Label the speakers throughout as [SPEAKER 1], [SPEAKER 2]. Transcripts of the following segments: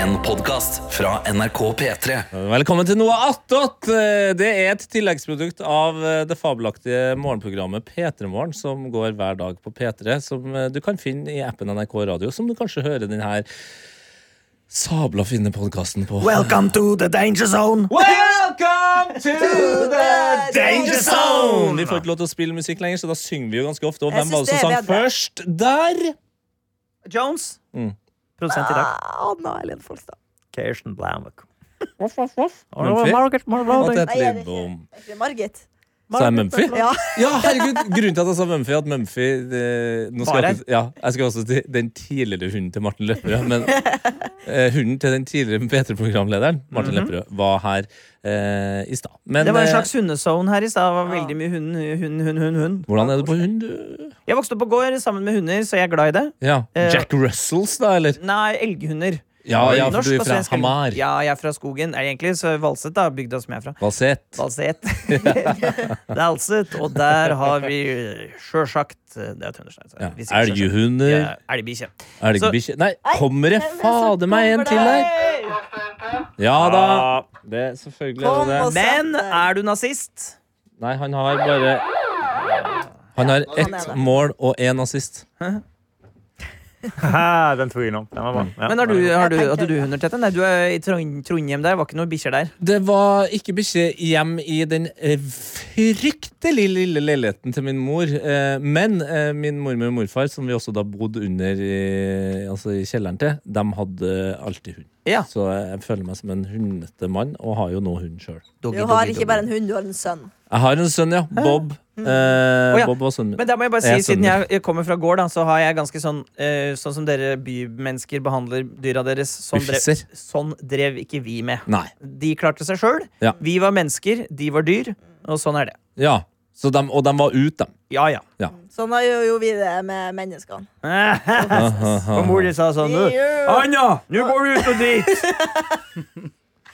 [SPEAKER 1] En podcast fra NRK P3
[SPEAKER 2] Velkommen til Noe attåt! Eh, Det er et tilleggsprodukt av eh, det fabelaktige morgenprogrammet P3 Morgen, som går hver dag på P3, som eh, du kan finne i appen NRK Radio, som du kanskje hører den her sabla fine podkasten på.
[SPEAKER 3] Welcome to the danger zone.
[SPEAKER 2] Welcome to the
[SPEAKER 3] danger zone!
[SPEAKER 2] sånn? Vi får ikke lov til å spille musikk lenger, så da synger vi jo ganske ofte. Og
[SPEAKER 4] Jeg
[SPEAKER 2] hvem var
[SPEAKER 4] synes
[SPEAKER 2] det som
[SPEAKER 4] det er
[SPEAKER 2] sang
[SPEAKER 4] bedre.
[SPEAKER 2] først der?
[SPEAKER 3] Jones.
[SPEAKER 2] Mm.
[SPEAKER 3] Produsent i dag.
[SPEAKER 4] Ah, Anna Helen Folstad.
[SPEAKER 3] Kirsten Blamwick.
[SPEAKER 2] Voff, voff, voff. Mumphy.
[SPEAKER 3] Margaret
[SPEAKER 2] Og
[SPEAKER 3] Marlowe.
[SPEAKER 2] Ted
[SPEAKER 4] Nei, jeg vet
[SPEAKER 2] Lidbom.
[SPEAKER 4] Er ikke det Margit?
[SPEAKER 2] Sa jeg Mumphy?
[SPEAKER 4] Ja.
[SPEAKER 2] Ja, herregud, grunnen til at jeg sa Mumphy, at Mumphy eh, nå skal
[SPEAKER 3] Var
[SPEAKER 2] jeg, ja, jeg skal også til den tidligere hunden til Martin Lepperød. Men eh, hunden til den tidligere P3-programlederen Martin
[SPEAKER 4] Mhm.
[SPEAKER 2] Lepperød var her eh, i stad. Men
[SPEAKER 3] Det var en
[SPEAKER 2] eh,
[SPEAKER 3] slags hundezone her i stad. Det var Veldig mye hund, hund, hund, hund, hund.
[SPEAKER 2] hvordan er det på hund? du?
[SPEAKER 3] Jeg vokste opp på gård sammen med hunder, så jeg er glad i det.
[SPEAKER 2] Ja,
[SPEAKER 3] Eh,
[SPEAKER 2] Jack Russells, da, eller?
[SPEAKER 3] Nei, elghunder.
[SPEAKER 2] Ja, ja, for
[SPEAKER 3] Norsk
[SPEAKER 2] du er
[SPEAKER 3] og
[SPEAKER 2] fra
[SPEAKER 3] svensk elg.
[SPEAKER 2] Hamar.
[SPEAKER 3] Ja, jeg er fra skogen. Nei, egentlig så er Valset, da. Bygda som jeg er fra.
[SPEAKER 2] Valset.
[SPEAKER 3] Valset. Valset. Og der har vi eh, sjølsagt Det er Tønderstein.
[SPEAKER 2] Ja. Elghunder,
[SPEAKER 3] Elgbikkje.
[SPEAKER 2] elgbikkje Nei,
[SPEAKER 4] Nei,
[SPEAKER 2] kommer det
[SPEAKER 4] nei, men så
[SPEAKER 2] fader meg en
[SPEAKER 4] kommer
[SPEAKER 2] til
[SPEAKER 4] det-
[SPEAKER 2] her? Ja da. Det er selvfølgelig er
[SPEAKER 4] Kom
[SPEAKER 2] det det.
[SPEAKER 4] og
[SPEAKER 3] Men
[SPEAKER 4] sett deg.
[SPEAKER 3] er du nazist?
[SPEAKER 2] Nei, han har bare Han har
[SPEAKER 4] er
[SPEAKER 2] ett
[SPEAKER 4] det.
[SPEAKER 2] mål og én assist.
[SPEAKER 5] Haha, Ah, Den tok jeg innom. Den var bra. Ja.
[SPEAKER 3] Men har du, har du,
[SPEAKER 4] Jeg tenker-
[SPEAKER 3] hadde du hunder, Tete? Nei, du er i Trond- Trondheim der. Var ikke noen bikkjer der.
[SPEAKER 2] Det var ikke bikkje hjem i den eh, fryktelig lille leiligheten til min mor. eh, Men eh, min mormor og morfar, som vi også da bodde under i, altså i kjelleren til, de hadde alltid hund.
[SPEAKER 3] Ja.
[SPEAKER 2] Så jeg føler meg som en hundete mann, og har jo nå hund sjøl.
[SPEAKER 3] Doggy,
[SPEAKER 4] Du har
[SPEAKER 3] doggy,
[SPEAKER 4] ikke
[SPEAKER 3] doggy.
[SPEAKER 4] bare en hund, du har en sønn.
[SPEAKER 2] Jeg har en sønn, ja. Bob. Eh,
[SPEAKER 3] Mm. Å ja.
[SPEAKER 2] Bob var sønnen min.
[SPEAKER 3] Men der må jeg bare si,
[SPEAKER 2] Jeg er
[SPEAKER 3] siden
[SPEAKER 2] sønner.
[SPEAKER 3] jeg jeg kommer fra gård, da, så har jeg ganske sånn eh, Sånn som dere bymennesker behandler dyra deres. Sånn drev,
[SPEAKER 2] Uffiser.
[SPEAKER 3] sånn drev ikke vi med.
[SPEAKER 2] Nei.
[SPEAKER 3] De klarte seg sjøl.
[SPEAKER 2] Ja.
[SPEAKER 3] Vi var mennesker, de var dyr. Og sånn er det.
[SPEAKER 2] Ja. Så dem- og de var ute, dem.
[SPEAKER 3] Ja, ja.
[SPEAKER 4] Sånn har jo, jo vi det med menneskene.
[SPEAKER 3] Og mor di sa sånn
[SPEAKER 4] Vi gjør-
[SPEAKER 3] Anja, nå går du ut og driter!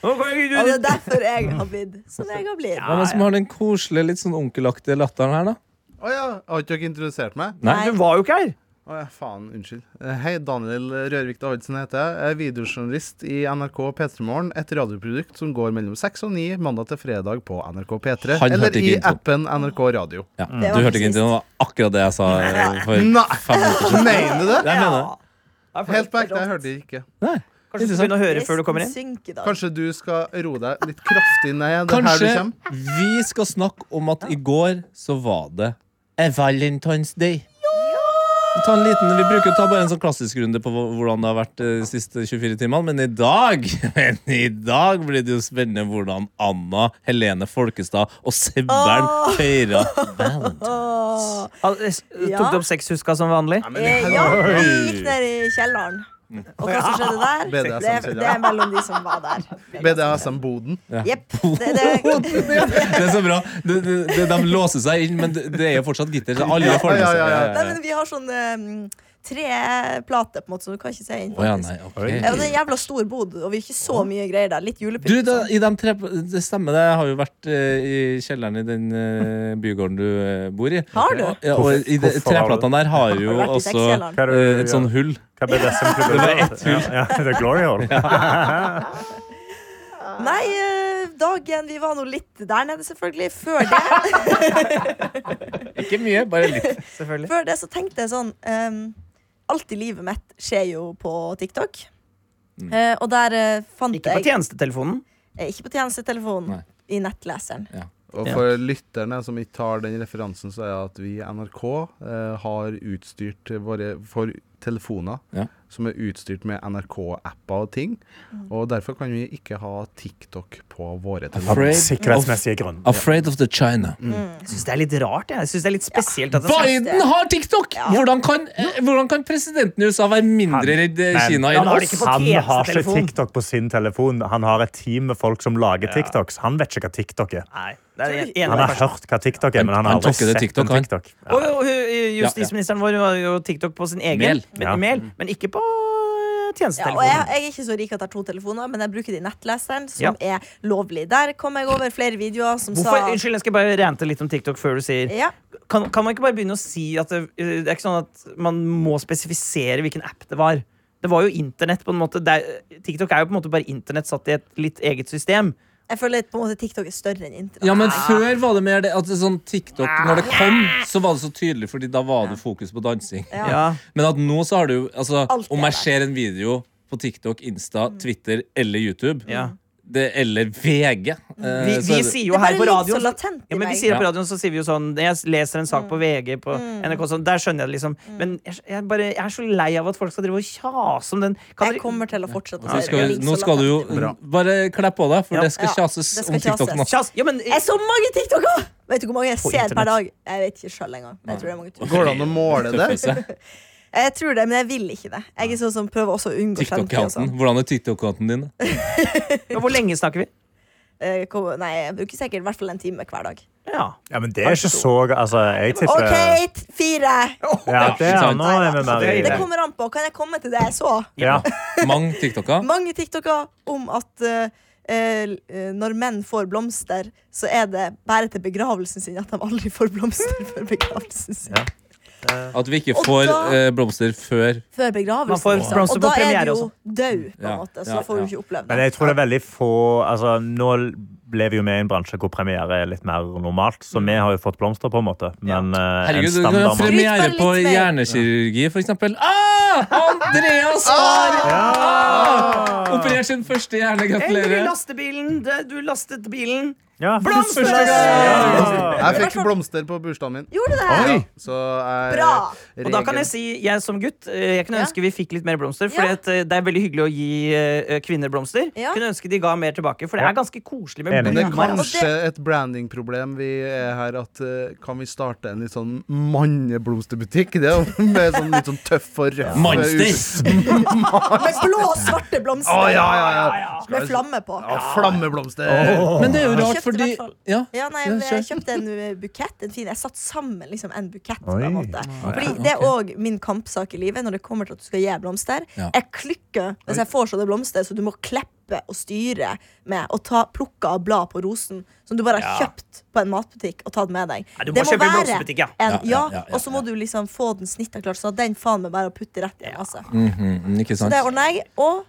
[SPEAKER 3] Nå kan ikke
[SPEAKER 4] Og
[SPEAKER 3] du
[SPEAKER 4] det er derfor jeg har blitt som jeg har blitt.
[SPEAKER 2] Hvem er det som har den koselige, litt sånn onkelaktige latteren her, da?
[SPEAKER 6] Å ja, har ikke dere introdusert meg?
[SPEAKER 2] Nei.
[SPEAKER 3] Du var jo ikke her!
[SPEAKER 6] Å ja, faen, unnskyld. Eh, Hei, Daniel Rørvik Davidsen heter jeg. Jeg er videojournalist i NRK P3 Morgen. Et radioprodukt som går mellom seks og ni mandag til fredag på NRK P3.
[SPEAKER 2] Han hørte
[SPEAKER 6] Eller
[SPEAKER 2] ikke
[SPEAKER 6] i
[SPEAKER 2] intro.
[SPEAKER 6] appen NRK Radio.
[SPEAKER 2] Ja.
[SPEAKER 4] Det
[SPEAKER 2] Du
[SPEAKER 4] var
[SPEAKER 2] hørte ikke
[SPEAKER 4] sist.
[SPEAKER 2] inntil nå? Det var Akkurat det jeg sa eh,
[SPEAKER 3] Mm.
[SPEAKER 2] for
[SPEAKER 6] Nei,
[SPEAKER 2] fem minutter siden.
[SPEAKER 6] mener du det?
[SPEAKER 2] Jeg mener det.
[SPEAKER 6] Helt på ekte, jeg hørte det ikke.
[SPEAKER 2] Nei.
[SPEAKER 3] Kanskje du skal begynne å høre før du kommer inn?
[SPEAKER 4] Synk i dag.
[SPEAKER 6] Kanskje du skal roe deg litt kraftig ned? Det er her du
[SPEAKER 2] Kanskje
[SPEAKER 6] kommer?
[SPEAKER 2] vi skal snakke om at i går så var det A Valentine's Day. Ta en liten, vi bruker å ta bare en sånn klassisk runde på hvor- hvordan det har vært eh, de siste 24 timene, men i dag men i dag blir det jo spennende hvordan Anna, Helene Folkestad og Sebbern feirer Valentine's.
[SPEAKER 3] Al- s-
[SPEAKER 4] Ja.
[SPEAKER 3] Tok du opp sexhuska som vanlig?
[SPEAKER 4] Eh, ja, vi gikk ned i kjelleren. Og hva som skjedde der?
[SPEAKER 6] BDSM
[SPEAKER 4] Det,
[SPEAKER 6] kjelleren.
[SPEAKER 4] det er mellom de som var der.
[SPEAKER 6] BDSM-boden.
[SPEAKER 4] Jepp. Det, det,
[SPEAKER 2] Det er så bra. De, de, de, de låser seg inn, men det det er jo fortsatt gitter. så Alle får med
[SPEAKER 6] Ja,
[SPEAKER 2] seg
[SPEAKER 6] ja, ja, ja.
[SPEAKER 4] Nei, men vi har sånn um, treplate, på en måte, så du kan ikke se inn.
[SPEAKER 2] Å ja,
[SPEAKER 4] faktisk.
[SPEAKER 2] nei,
[SPEAKER 5] Oi.
[SPEAKER 2] ok.
[SPEAKER 4] Ja, men det er en jævla stor bod, og vi har ikke så mye greier der. Litt julepynt.
[SPEAKER 2] Du,
[SPEAKER 4] og
[SPEAKER 2] da,
[SPEAKER 4] sånn.
[SPEAKER 2] i de tre, det stemmer det. Jeg har jo vært eh, i kjelleren i den eh, bygården du eh, bor i.
[SPEAKER 4] Har du?
[SPEAKER 2] Ja, og i de,
[SPEAKER 5] Hvorfor har du-
[SPEAKER 2] treplatene der har jo
[SPEAKER 4] Har du vært i
[SPEAKER 2] også
[SPEAKER 4] sexkjelleren?
[SPEAKER 5] Hva er
[SPEAKER 2] eh,
[SPEAKER 5] det du
[SPEAKER 2] et
[SPEAKER 5] gjør?
[SPEAKER 2] sånn hull.
[SPEAKER 5] Hva ble det som klubben?
[SPEAKER 2] Det var ett hull.
[SPEAKER 5] Ja, ja, det er glory hole.
[SPEAKER 4] Nei, eh, dagen Vi var nå litt der nede, selvfølgelig. Før det,
[SPEAKER 2] Ikke mye, bare litt.
[SPEAKER 3] Selvfølgelig.
[SPEAKER 4] før det så tenkte jeg sånn um, Alt i livet mitt skjer jo på TikTok.
[SPEAKER 2] Mm.
[SPEAKER 4] Eh, og der eh, fant
[SPEAKER 3] Ikke på
[SPEAKER 4] jeg
[SPEAKER 3] tjenestetelefonen.
[SPEAKER 4] eh, Ikke på tjenestetelefonen.
[SPEAKER 2] Nei.
[SPEAKER 4] I nettleseren.
[SPEAKER 6] Og
[SPEAKER 3] Ja.
[SPEAKER 6] for lytterne som ikke har den referansen, så er det at vi i NRK eh, har utstyrt våre for telefoner
[SPEAKER 2] Ja.
[SPEAKER 6] som er utstyrt med NRK-apper og ting.
[SPEAKER 4] Mm.
[SPEAKER 6] Og derfor kan vi ikke ha TikTok på våre
[SPEAKER 2] Fra-
[SPEAKER 6] telefoner.
[SPEAKER 5] Av Sikkerhetsmessige grunner.
[SPEAKER 2] Afraid of the China.
[SPEAKER 3] Jeg syns det er litt rart. Jeg, jeg synes det er litt spesielt at det er sånn.
[SPEAKER 2] Biden har TikTok! Hvordan kan, eh, hvordan kan presidenten i USA være mindre redd eh,
[SPEAKER 5] Men-
[SPEAKER 2] Kina
[SPEAKER 3] Ja,
[SPEAKER 2] enn
[SPEAKER 3] da har de
[SPEAKER 2] oss?
[SPEAKER 3] ikke fått
[SPEAKER 5] Han har ikke
[SPEAKER 3] tjenestetelefon.
[SPEAKER 5] TikTok på sin telefon. Han har et team med folk som lager TikToks. Han vet ikke hva TikTok er.
[SPEAKER 3] Nei, det er en
[SPEAKER 5] Han har
[SPEAKER 3] enig.
[SPEAKER 5] hørt hva TikTok er, men han har
[SPEAKER 2] Han
[SPEAKER 5] aldri
[SPEAKER 2] tok det
[SPEAKER 5] sett
[SPEAKER 2] TikTok,
[SPEAKER 5] en
[SPEAKER 2] han.
[SPEAKER 5] TikTok.
[SPEAKER 3] Og og, eh, justisministeren vår har jo TikTok på sin egen
[SPEAKER 2] Mel.
[SPEAKER 3] Men,
[SPEAKER 5] Ja.
[SPEAKER 3] mail, men ikke på eh,
[SPEAKER 4] Ja, og jeg,
[SPEAKER 3] tjenestetelefonen.
[SPEAKER 4] jeg er ikke så rik at jeg har to telefoner, men jeg bruker det i nettleseren, som
[SPEAKER 3] Ja.
[SPEAKER 4] er lovlig. Der kom jeg over flere videoer som
[SPEAKER 3] Hvorfor,
[SPEAKER 4] sa
[SPEAKER 3] unnskyld, jeg skal bare rante litt om TikTok før du sier
[SPEAKER 4] ja.
[SPEAKER 3] kan, kan man ikke bare begynne å si at det, eh, det er ikke sånn at man må spesifisere hvilken app det var? Det var jo internett, på en måte. Det er, TikTok er jo på en måte bare internett satt i et litt eget system.
[SPEAKER 4] Jeg føler på en måte TikTok er større enn internett.
[SPEAKER 2] Ja, men før var det mer det at sånn TikTok, når det kom, så var det så tydelig, fordi da var det fokus på dansing.
[SPEAKER 4] Ja.
[SPEAKER 3] Ja.
[SPEAKER 2] Men at nå så har du jo altså,
[SPEAKER 4] Alt er
[SPEAKER 2] Om jeg
[SPEAKER 4] der. Mm.
[SPEAKER 2] ser en video på TikTok, Insta, Twitter eller YouTube,
[SPEAKER 3] Ja.
[SPEAKER 2] det, eller VG eh, så
[SPEAKER 3] Vi, vi
[SPEAKER 2] er det-
[SPEAKER 3] sier
[SPEAKER 4] Det
[SPEAKER 3] jo her på
[SPEAKER 4] bare ligger så
[SPEAKER 3] radioen
[SPEAKER 4] latent i Mm.
[SPEAKER 3] ja, men vi
[SPEAKER 4] meg.
[SPEAKER 3] sier det på
[SPEAKER 2] Ja.
[SPEAKER 3] radioen, så sier vi jo sånn Jeg leser en sak på VG på NRK sånn, Der skjønner jeg det liksom
[SPEAKER 4] Mm.
[SPEAKER 3] Men jeg, jeg, bare, jeg er så lei av at folk skal drive og kjase om den kan
[SPEAKER 4] Jeg
[SPEAKER 3] dere-
[SPEAKER 4] kommer til å fortsette å
[SPEAKER 2] Så
[SPEAKER 4] si
[SPEAKER 2] skal, vi-
[SPEAKER 4] det. Det
[SPEAKER 2] nå
[SPEAKER 4] ligger så
[SPEAKER 2] skal du jo
[SPEAKER 4] latent i meg.
[SPEAKER 6] Bra.
[SPEAKER 2] Bare kle på deg, for
[SPEAKER 3] Ja.
[SPEAKER 2] det skal
[SPEAKER 4] Ja.
[SPEAKER 2] kjases
[SPEAKER 4] Det skal
[SPEAKER 2] om TikTok nå.
[SPEAKER 4] kjases.
[SPEAKER 3] Kjas, ja, men,
[SPEAKER 4] Jeg er så mange TikToker! Vet du hvor mange jeg
[SPEAKER 3] På
[SPEAKER 4] ser per
[SPEAKER 3] internett.
[SPEAKER 4] dag? Jeg vet ikke sjøl engang. men Jeg tror det er mange tusen.
[SPEAKER 6] Går det an å måle det?
[SPEAKER 4] Jeg tror det, men jeg vil ikke det. Jeg er sånn som prøver også å unngå skjemtid. og
[SPEAKER 2] TikTok-kanten.
[SPEAKER 4] sånn.
[SPEAKER 2] Hvordan er TikTok-kanten din?
[SPEAKER 3] men hvor lenge snakker vi?
[SPEAKER 4] Eh, kom- Nei, jeg bruker sikkert i hvert fall en time hver dag.
[SPEAKER 3] Ja
[SPEAKER 5] Ja, men det er ikke så Altså, jeg tipper
[SPEAKER 4] OK, t- fire!
[SPEAKER 5] Ja, det er nå er vi mer
[SPEAKER 3] Det
[SPEAKER 5] i
[SPEAKER 4] Det
[SPEAKER 3] er-
[SPEAKER 4] kommer an på. Kan jeg komme til det jeg så?
[SPEAKER 5] ja.
[SPEAKER 2] Mange TikToker.
[SPEAKER 4] Mange TikToker om at eh, eh, når menn får blomster, så er det bare til begravelsen sin at de aldri får blomster før begravelsen sin.
[SPEAKER 5] Ja.
[SPEAKER 2] At vi ikke
[SPEAKER 4] Og
[SPEAKER 2] får
[SPEAKER 4] da-
[SPEAKER 2] eh, blomster før
[SPEAKER 4] Før begravelsen,
[SPEAKER 3] Man får blomster
[SPEAKER 4] Og
[SPEAKER 3] på
[SPEAKER 4] da er
[SPEAKER 3] premiere
[SPEAKER 4] du jo
[SPEAKER 3] også.
[SPEAKER 4] død, på en
[SPEAKER 2] Ja,
[SPEAKER 4] måte. Så
[SPEAKER 2] ja,
[SPEAKER 4] da får du
[SPEAKER 2] ja.
[SPEAKER 4] ikke opplevd
[SPEAKER 5] Men jeg tror det er veldig få altså, Nå lever vi jo med i en bransje hvor premiere er litt mer normalt,
[SPEAKER 3] Mm.
[SPEAKER 5] så vi har jo fått blomster, på en måte. Men eh, en
[SPEAKER 2] Herregud, du kan ha
[SPEAKER 5] standard
[SPEAKER 2] premiere
[SPEAKER 4] Skryt
[SPEAKER 2] på
[SPEAKER 4] bare litt mer.
[SPEAKER 2] hjernekirurgi, for eksempel. Ah, Andreas har ah, operert sin første hjerne.
[SPEAKER 3] Eller i
[SPEAKER 2] Gratulerer.
[SPEAKER 3] lastebilen, det- du lastet bilen
[SPEAKER 5] ja.
[SPEAKER 3] Blomster!
[SPEAKER 6] Jeg fikk blomster på bursdagen min.
[SPEAKER 4] Gjorde du det?
[SPEAKER 6] Ja, så jeg,
[SPEAKER 4] Bra!
[SPEAKER 3] Og da kan jeg si, jeg som gutt, eh, jeg kunne
[SPEAKER 4] Ja.
[SPEAKER 3] ønske vi fikk litt mer blomster. For
[SPEAKER 4] Ja.
[SPEAKER 3] det er veldig hyggelig å gi eh, kvinner blomster.
[SPEAKER 4] Ja.
[SPEAKER 3] Kunne ønske de ga mer tilbake, for det er ganske koselig med
[SPEAKER 5] Enig.
[SPEAKER 6] Men det er
[SPEAKER 3] blomster.
[SPEAKER 4] Og
[SPEAKER 6] kanskje et brandingproblem vi er her. At eh, Kan vi starte en litt sånn manneblomsterbutikk? Det er jo Med sånn litt sånn tøff og røff
[SPEAKER 2] Monster.
[SPEAKER 4] Med blå, svarte blomster.
[SPEAKER 6] Å, ja, ja, ja.
[SPEAKER 4] Med flamme på.
[SPEAKER 6] Ja, flammeblomster!
[SPEAKER 2] Men det er jo
[SPEAKER 4] Jeg
[SPEAKER 2] rart,
[SPEAKER 4] kjøpte i
[SPEAKER 2] fordi
[SPEAKER 4] hvert fall.
[SPEAKER 2] ja,
[SPEAKER 4] Ja, nei,
[SPEAKER 2] Ja,
[SPEAKER 4] jeg
[SPEAKER 2] kjør.
[SPEAKER 4] kjøpte en eh, bukett. En fin. Jeg satte sammen liksom, en bukett. På
[SPEAKER 5] Oi.
[SPEAKER 4] en måte. Fordi
[SPEAKER 2] ok.
[SPEAKER 4] Det er òg min kampsak i livet når det kommer til at du skal gi blomster.
[SPEAKER 2] Ja.
[SPEAKER 4] Jeg klikker hvis jeg får sånne blomster, så du må kleppe og styre med. Og ta, plukke av blad på rosen som du bare har kjøpt på en matbutikk og tatt med deg.
[SPEAKER 3] Ja, du må kjøpe i blomsterbutikk, ja.
[SPEAKER 4] En,
[SPEAKER 2] Ja,
[SPEAKER 4] ja,
[SPEAKER 2] ja, ja, ja,
[SPEAKER 4] og så må du liksom få den snitta klart, sånn at den faen meg bare å putte rett i en masse.
[SPEAKER 2] Mhm, Ikke
[SPEAKER 4] Så
[SPEAKER 2] sant?
[SPEAKER 4] det ordna jeg. Og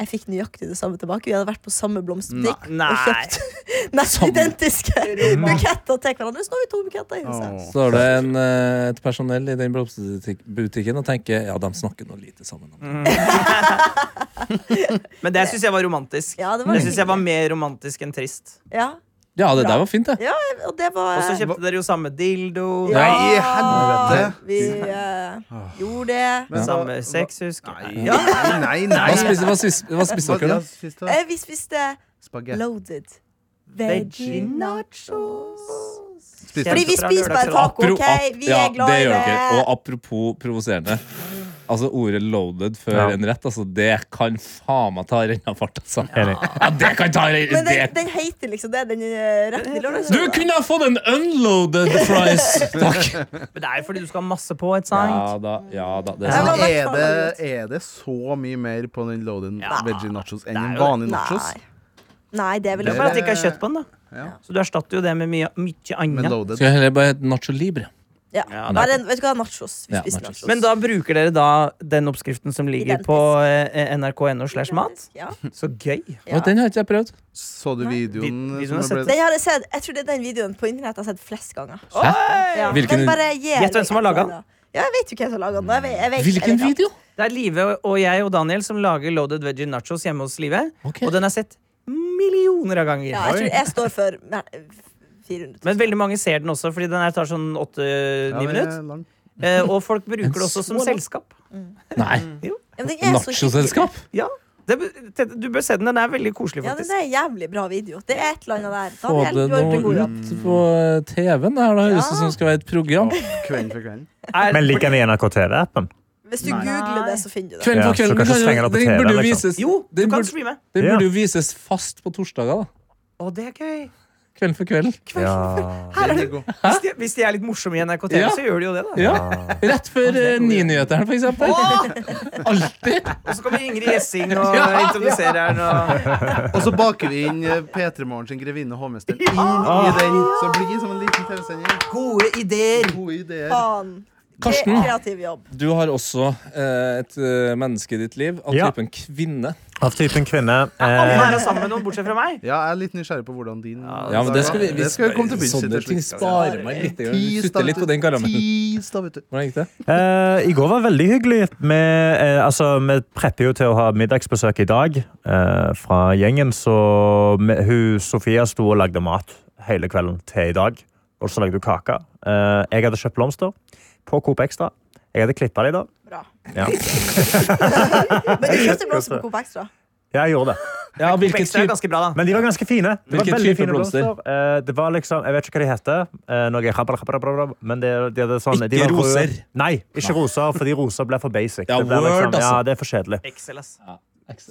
[SPEAKER 4] jeg fikk nøyaktig det samme tilbake. Vi hadde vært på samme blomsterbutikk
[SPEAKER 3] Nei.
[SPEAKER 4] og kjøpt nesten identiske buketter til hverandre. Så nå har vi to buketter i huset.
[SPEAKER 6] Åh.
[SPEAKER 2] Står det en, eh, et personell i den blomsterbutikken og tenker ja, de snakker noe lite sammen. om det».
[SPEAKER 3] Men det syns jeg var romantisk.
[SPEAKER 4] Ja, det var
[SPEAKER 3] det syns jeg var mer romantisk enn trist.
[SPEAKER 4] Ja,
[SPEAKER 2] Ja, det
[SPEAKER 4] Bra.
[SPEAKER 2] der var fint, det.
[SPEAKER 4] ja og det var
[SPEAKER 3] Og så kjøpte dere jo samme dildo.
[SPEAKER 4] Eh, ja,
[SPEAKER 6] Nei, i helvete.
[SPEAKER 4] Vi eh, gjorde det.
[SPEAKER 6] Men
[SPEAKER 3] Samme
[SPEAKER 6] hva-
[SPEAKER 3] sex, husker jeg.
[SPEAKER 6] Nei, nei, nei.
[SPEAKER 2] Hva spiste, hva spiste, hva spiste dere,
[SPEAKER 6] Ja,
[SPEAKER 2] da?
[SPEAKER 6] spiste
[SPEAKER 4] Eh, Vi spiste
[SPEAKER 6] Spagetti.
[SPEAKER 4] loaded
[SPEAKER 3] Veggie
[SPEAKER 4] veggie nachos.
[SPEAKER 6] Spiste
[SPEAKER 4] Fordi vi
[SPEAKER 3] Fra
[SPEAKER 4] spiser bare
[SPEAKER 3] lørdag
[SPEAKER 4] taco,
[SPEAKER 3] til
[SPEAKER 4] OK?
[SPEAKER 2] Apro-
[SPEAKER 4] Vi
[SPEAKER 2] ja,
[SPEAKER 4] er glad i
[SPEAKER 2] det. gjør dere. Og
[SPEAKER 4] det.
[SPEAKER 2] apropos provoserende. Altså Ordet 'loaded' før
[SPEAKER 5] Ja.
[SPEAKER 2] en rett, altså, det kan faen meg ta renna fart. Altså.
[SPEAKER 5] Enig.
[SPEAKER 2] Ja, det kan ta renna
[SPEAKER 4] Men den, den heter liksom det, den eh, retten i lørdag.
[SPEAKER 2] Du kunne ha fått en unloaded fries! Takk.
[SPEAKER 3] Men det er jo fordi du skal ha masse på, ikke
[SPEAKER 2] Ja
[SPEAKER 3] sant?
[SPEAKER 2] da, ja da. Det
[SPEAKER 4] Ja.
[SPEAKER 2] er sant.
[SPEAKER 6] Men er det, er det så mye mer på den loaded veggie nachos enn en vanlig nachos?
[SPEAKER 4] Nei. Nei, det er vel
[SPEAKER 3] Det er bare at det ikke er kjøtt på den, da.
[SPEAKER 6] Ja.
[SPEAKER 3] Så du erstatter jo det med mye, mye
[SPEAKER 6] Men
[SPEAKER 3] annet.
[SPEAKER 6] loaded
[SPEAKER 2] Skal jeg heller bare hete nacho libre?
[SPEAKER 4] Ja.
[SPEAKER 3] Ja,
[SPEAKER 4] Bare en, vet du hva, nachos. Vi
[SPEAKER 2] Ja,
[SPEAKER 4] spiser
[SPEAKER 2] nachos.
[SPEAKER 4] nachos.
[SPEAKER 3] Men da bruker dere da den oppskriften som ligger
[SPEAKER 4] Identisk.
[SPEAKER 3] på eh, nrk.no slash mat.
[SPEAKER 4] Ja.
[SPEAKER 3] Så gøy.
[SPEAKER 4] Ja.
[SPEAKER 2] Å, Den har ikke jeg prøvd.
[SPEAKER 6] Så du
[SPEAKER 4] Nei.
[SPEAKER 6] videoen?
[SPEAKER 3] Vi- videoen
[SPEAKER 6] som
[SPEAKER 3] har
[SPEAKER 6] ble-
[SPEAKER 4] Den har jeg sett, jeg tror det er den videoen på internett jeg har sett flest ganger. Ja.
[SPEAKER 2] Hvilken-
[SPEAKER 4] Den bare gir
[SPEAKER 3] Gjett hvem
[SPEAKER 4] meg
[SPEAKER 3] som har
[SPEAKER 4] et eller
[SPEAKER 3] laget den.
[SPEAKER 4] annet. Ja, jeg vet jo hvem som har laga den. Jeg vet, jeg vet, jeg
[SPEAKER 2] Hvilken
[SPEAKER 4] vet,
[SPEAKER 2] video?
[SPEAKER 3] Det er Live og jeg og Daniel som lager loaded veggie nachos hjemme hos Live.
[SPEAKER 2] Ok.
[SPEAKER 3] Og den er sett millioner av ganger.
[SPEAKER 4] Ja, jeg tror jeg står for nei, 400
[SPEAKER 3] Men veldig mange ser den også, fordi den her tar sånn
[SPEAKER 6] Ja,
[SPEAKER 3] åtte-ni
[SPEAKER 6] den er
[SPEAKER 3] minutter.
[SPEAKER 6] lang.
[SPEAKER 3] Eh, og folk bruker det også
[SPEAKER 2] så
[SPEAKER 3] som
[SPEAKER 2] lang?
[SPEAKER 3] selskap.
[SPEAKER 2] Nei.
[SPEAKER 4] Ja, men den er så
[SPEAKER 2] Nachoselskap?
[SPEAKER 3] Ja, det, det, Du bør se den. Den er veldig koselig,
[SPEAKER 4] skikkelig. Ja, den
[SPEAKER 3] faktisk.
[SPEAKER 4] er en jævlig bra video. Det er et eller annet der.
[SPEAKER 2] Få
[SPEAKER 4] Daniel,
[SPEAKER 2] det
[SPEAKER 4] du har gjort en god
[SPEAKER 2] nå
[SPEAKER 4] jobb.
[SPEAKER 2] ut på eh, TV-en. Det her da høres ut som det skal være et program.
[SPEAKER 6] Kvelden for kvelden.
[SPEAKER 3] Er-
[SPEAKER 5] Men liker vi NRK TV-appen?
[SPEAKER 4] Hvis du
[SPEAKER 6] Nei.
[SPEAKER 4] googler det, så finner du det.
[SPEAKER 2] Kvelden
[SPEAKER 5] Ja,
[SPEAKER 2] på
[SPEAKER 5] så
[SPEAKER 2] kvelden.
[SPEAKER 5] kanskje
[SPEAKER 2] kan jo-
[SPEAKER 5] slenger det på
[SPEAKER 2] den
[SPEAKER 5] TV,
[SPEAKER 2] burde jo
[SPEAKER 5] liksom.
[SPEAKER 2] vises,
[SPEAKER 3] Jo, du
[SPEAKER 2] den
[SPEAKER 3] kan
[SPEAKER 2] burde,
[SPEAKER 3] streame.
[SPEAKER 2] den
[SPEAKER 5] Ja.
[SPEAKER 2] burde jo vises fast på torsdager, da.
[SPEAKER 3] Å, det er gøy.
[SPEAKER 2] Kvelden for kvelden.
[SPEAKER 5] Ja.
[SPEAKER 3] Her er det,
[SPEAKER 6] Den er god.
[SPEAKER 3] hvis, de, hvis de er litt morsomme i NRK TV,
[SPEAKER 2] Ja.
[SPEAKER 3] så gjør de jo det, da.
[SPEAKER 2] Ja. Rett før eh, Nynyheteren, for eksempel. Alltid.
[SPEAKER 3] Og så kommer Ingrid Gjessing og introduserer den. Og...
[SPEAKER 6] Og så baker vi inn eh, P3 Morgen sin grevinne og hovmester
[SPEAKER 2] Ah.
[SPEAKER 6] inn i den. Så det blir som en liten TV-sending.
[SPEAKER 3] Gode ideer!
[SPEAKER 4] Ah.
[SPEAKER 6] Gode ideer.
[SPEAKER 4] Faen.
[SPEAKER 2] Karsten,
[SPEAKER 4] Kre- Kreativ jobb.
[SPEAKER 2] du har også eh, et eh, menneske i ditt liv av
[SPEAKER 5] Ja.
[SPEAKER 2] typen kvinne.
[SPEAKER 5] Av typen kvinne.
[SPEAKER 3] Alle
[SPEAKER 5] Eh,
[SPEAKER 3] her er sammen med noen, bortsett fra meg.
[SPEAKER 6] Ja, jeg er litt nysgjerrig på hvordan din
[SPEAKER 2] Ja, men det skal vi, vi,
[SPEAKER 6] det skal vi komme til bunns i
[SPEAKER 2] Sånne
[SPEAKER 6] til
[SPEAKER 2] ting
[SPEAKER 6] slutt. altså.
[SPEAKER 2] sparer meg litt. Vi Putter litt på den karamellen.
[SPEAKER 6] Tis, da, vet du.
[SPEAKER 2] Hvordan gikk det?
[SPEAKER 5] eh, I går var veldig hyggelig. Vi, eh, altså, vi prepper jo til å ha middagsbesøk i dag eh, fra gjengen, så vi, hun, Sofia sto og lagde mat hele kvelden til i dag. Og så lagde hun kake. Eh, jeg hadde kjøpt blomster på Coop Extra. Jeg hadde klippa de da.
[SPEAKER 4] Bra.
[SPEAKER 5] Ja.
[SPEAKER 4] Men du kjøpte blomster på Coop Extra.
[SPEAKER 5] Ja, jeg gjorde det.
[SPEAKER 2] Ja, hvilket
[SPEAKER 3] Ekstra er
[SPEAKER 2] type
[SPEAKER 3] ganske bra, da.
[SPEAKER 5] Men de var ganske fine. Det var
[SPEAKER 2] Hvilken
[SPEAKER 5] veldig
[SPEAKER 2] type
[SPEAKER 5] fine
[SPEAKER 2] blomster?
[SPEAKER 5] Eh, det var liksom, Jeg vet ikke hva de heter. Eh, noe rabra, rabra, rabra, rabra, men det, de hadde sånn, de
[SPEAKER 2] Ikke
[SPEAKER 5] var røde.
[SPEAKER 2] roser.
[SPEAKER 5] Nei, ikke roser, fordi roser ble for basic.
[SPEAKER 2] Ja,
[SPEAKER 5] det ble
[SPEAKER 2] word, altså.
[SPEAKER 5] ja, det er for kjedelig.
[SPEAKER 3] Excel, ass.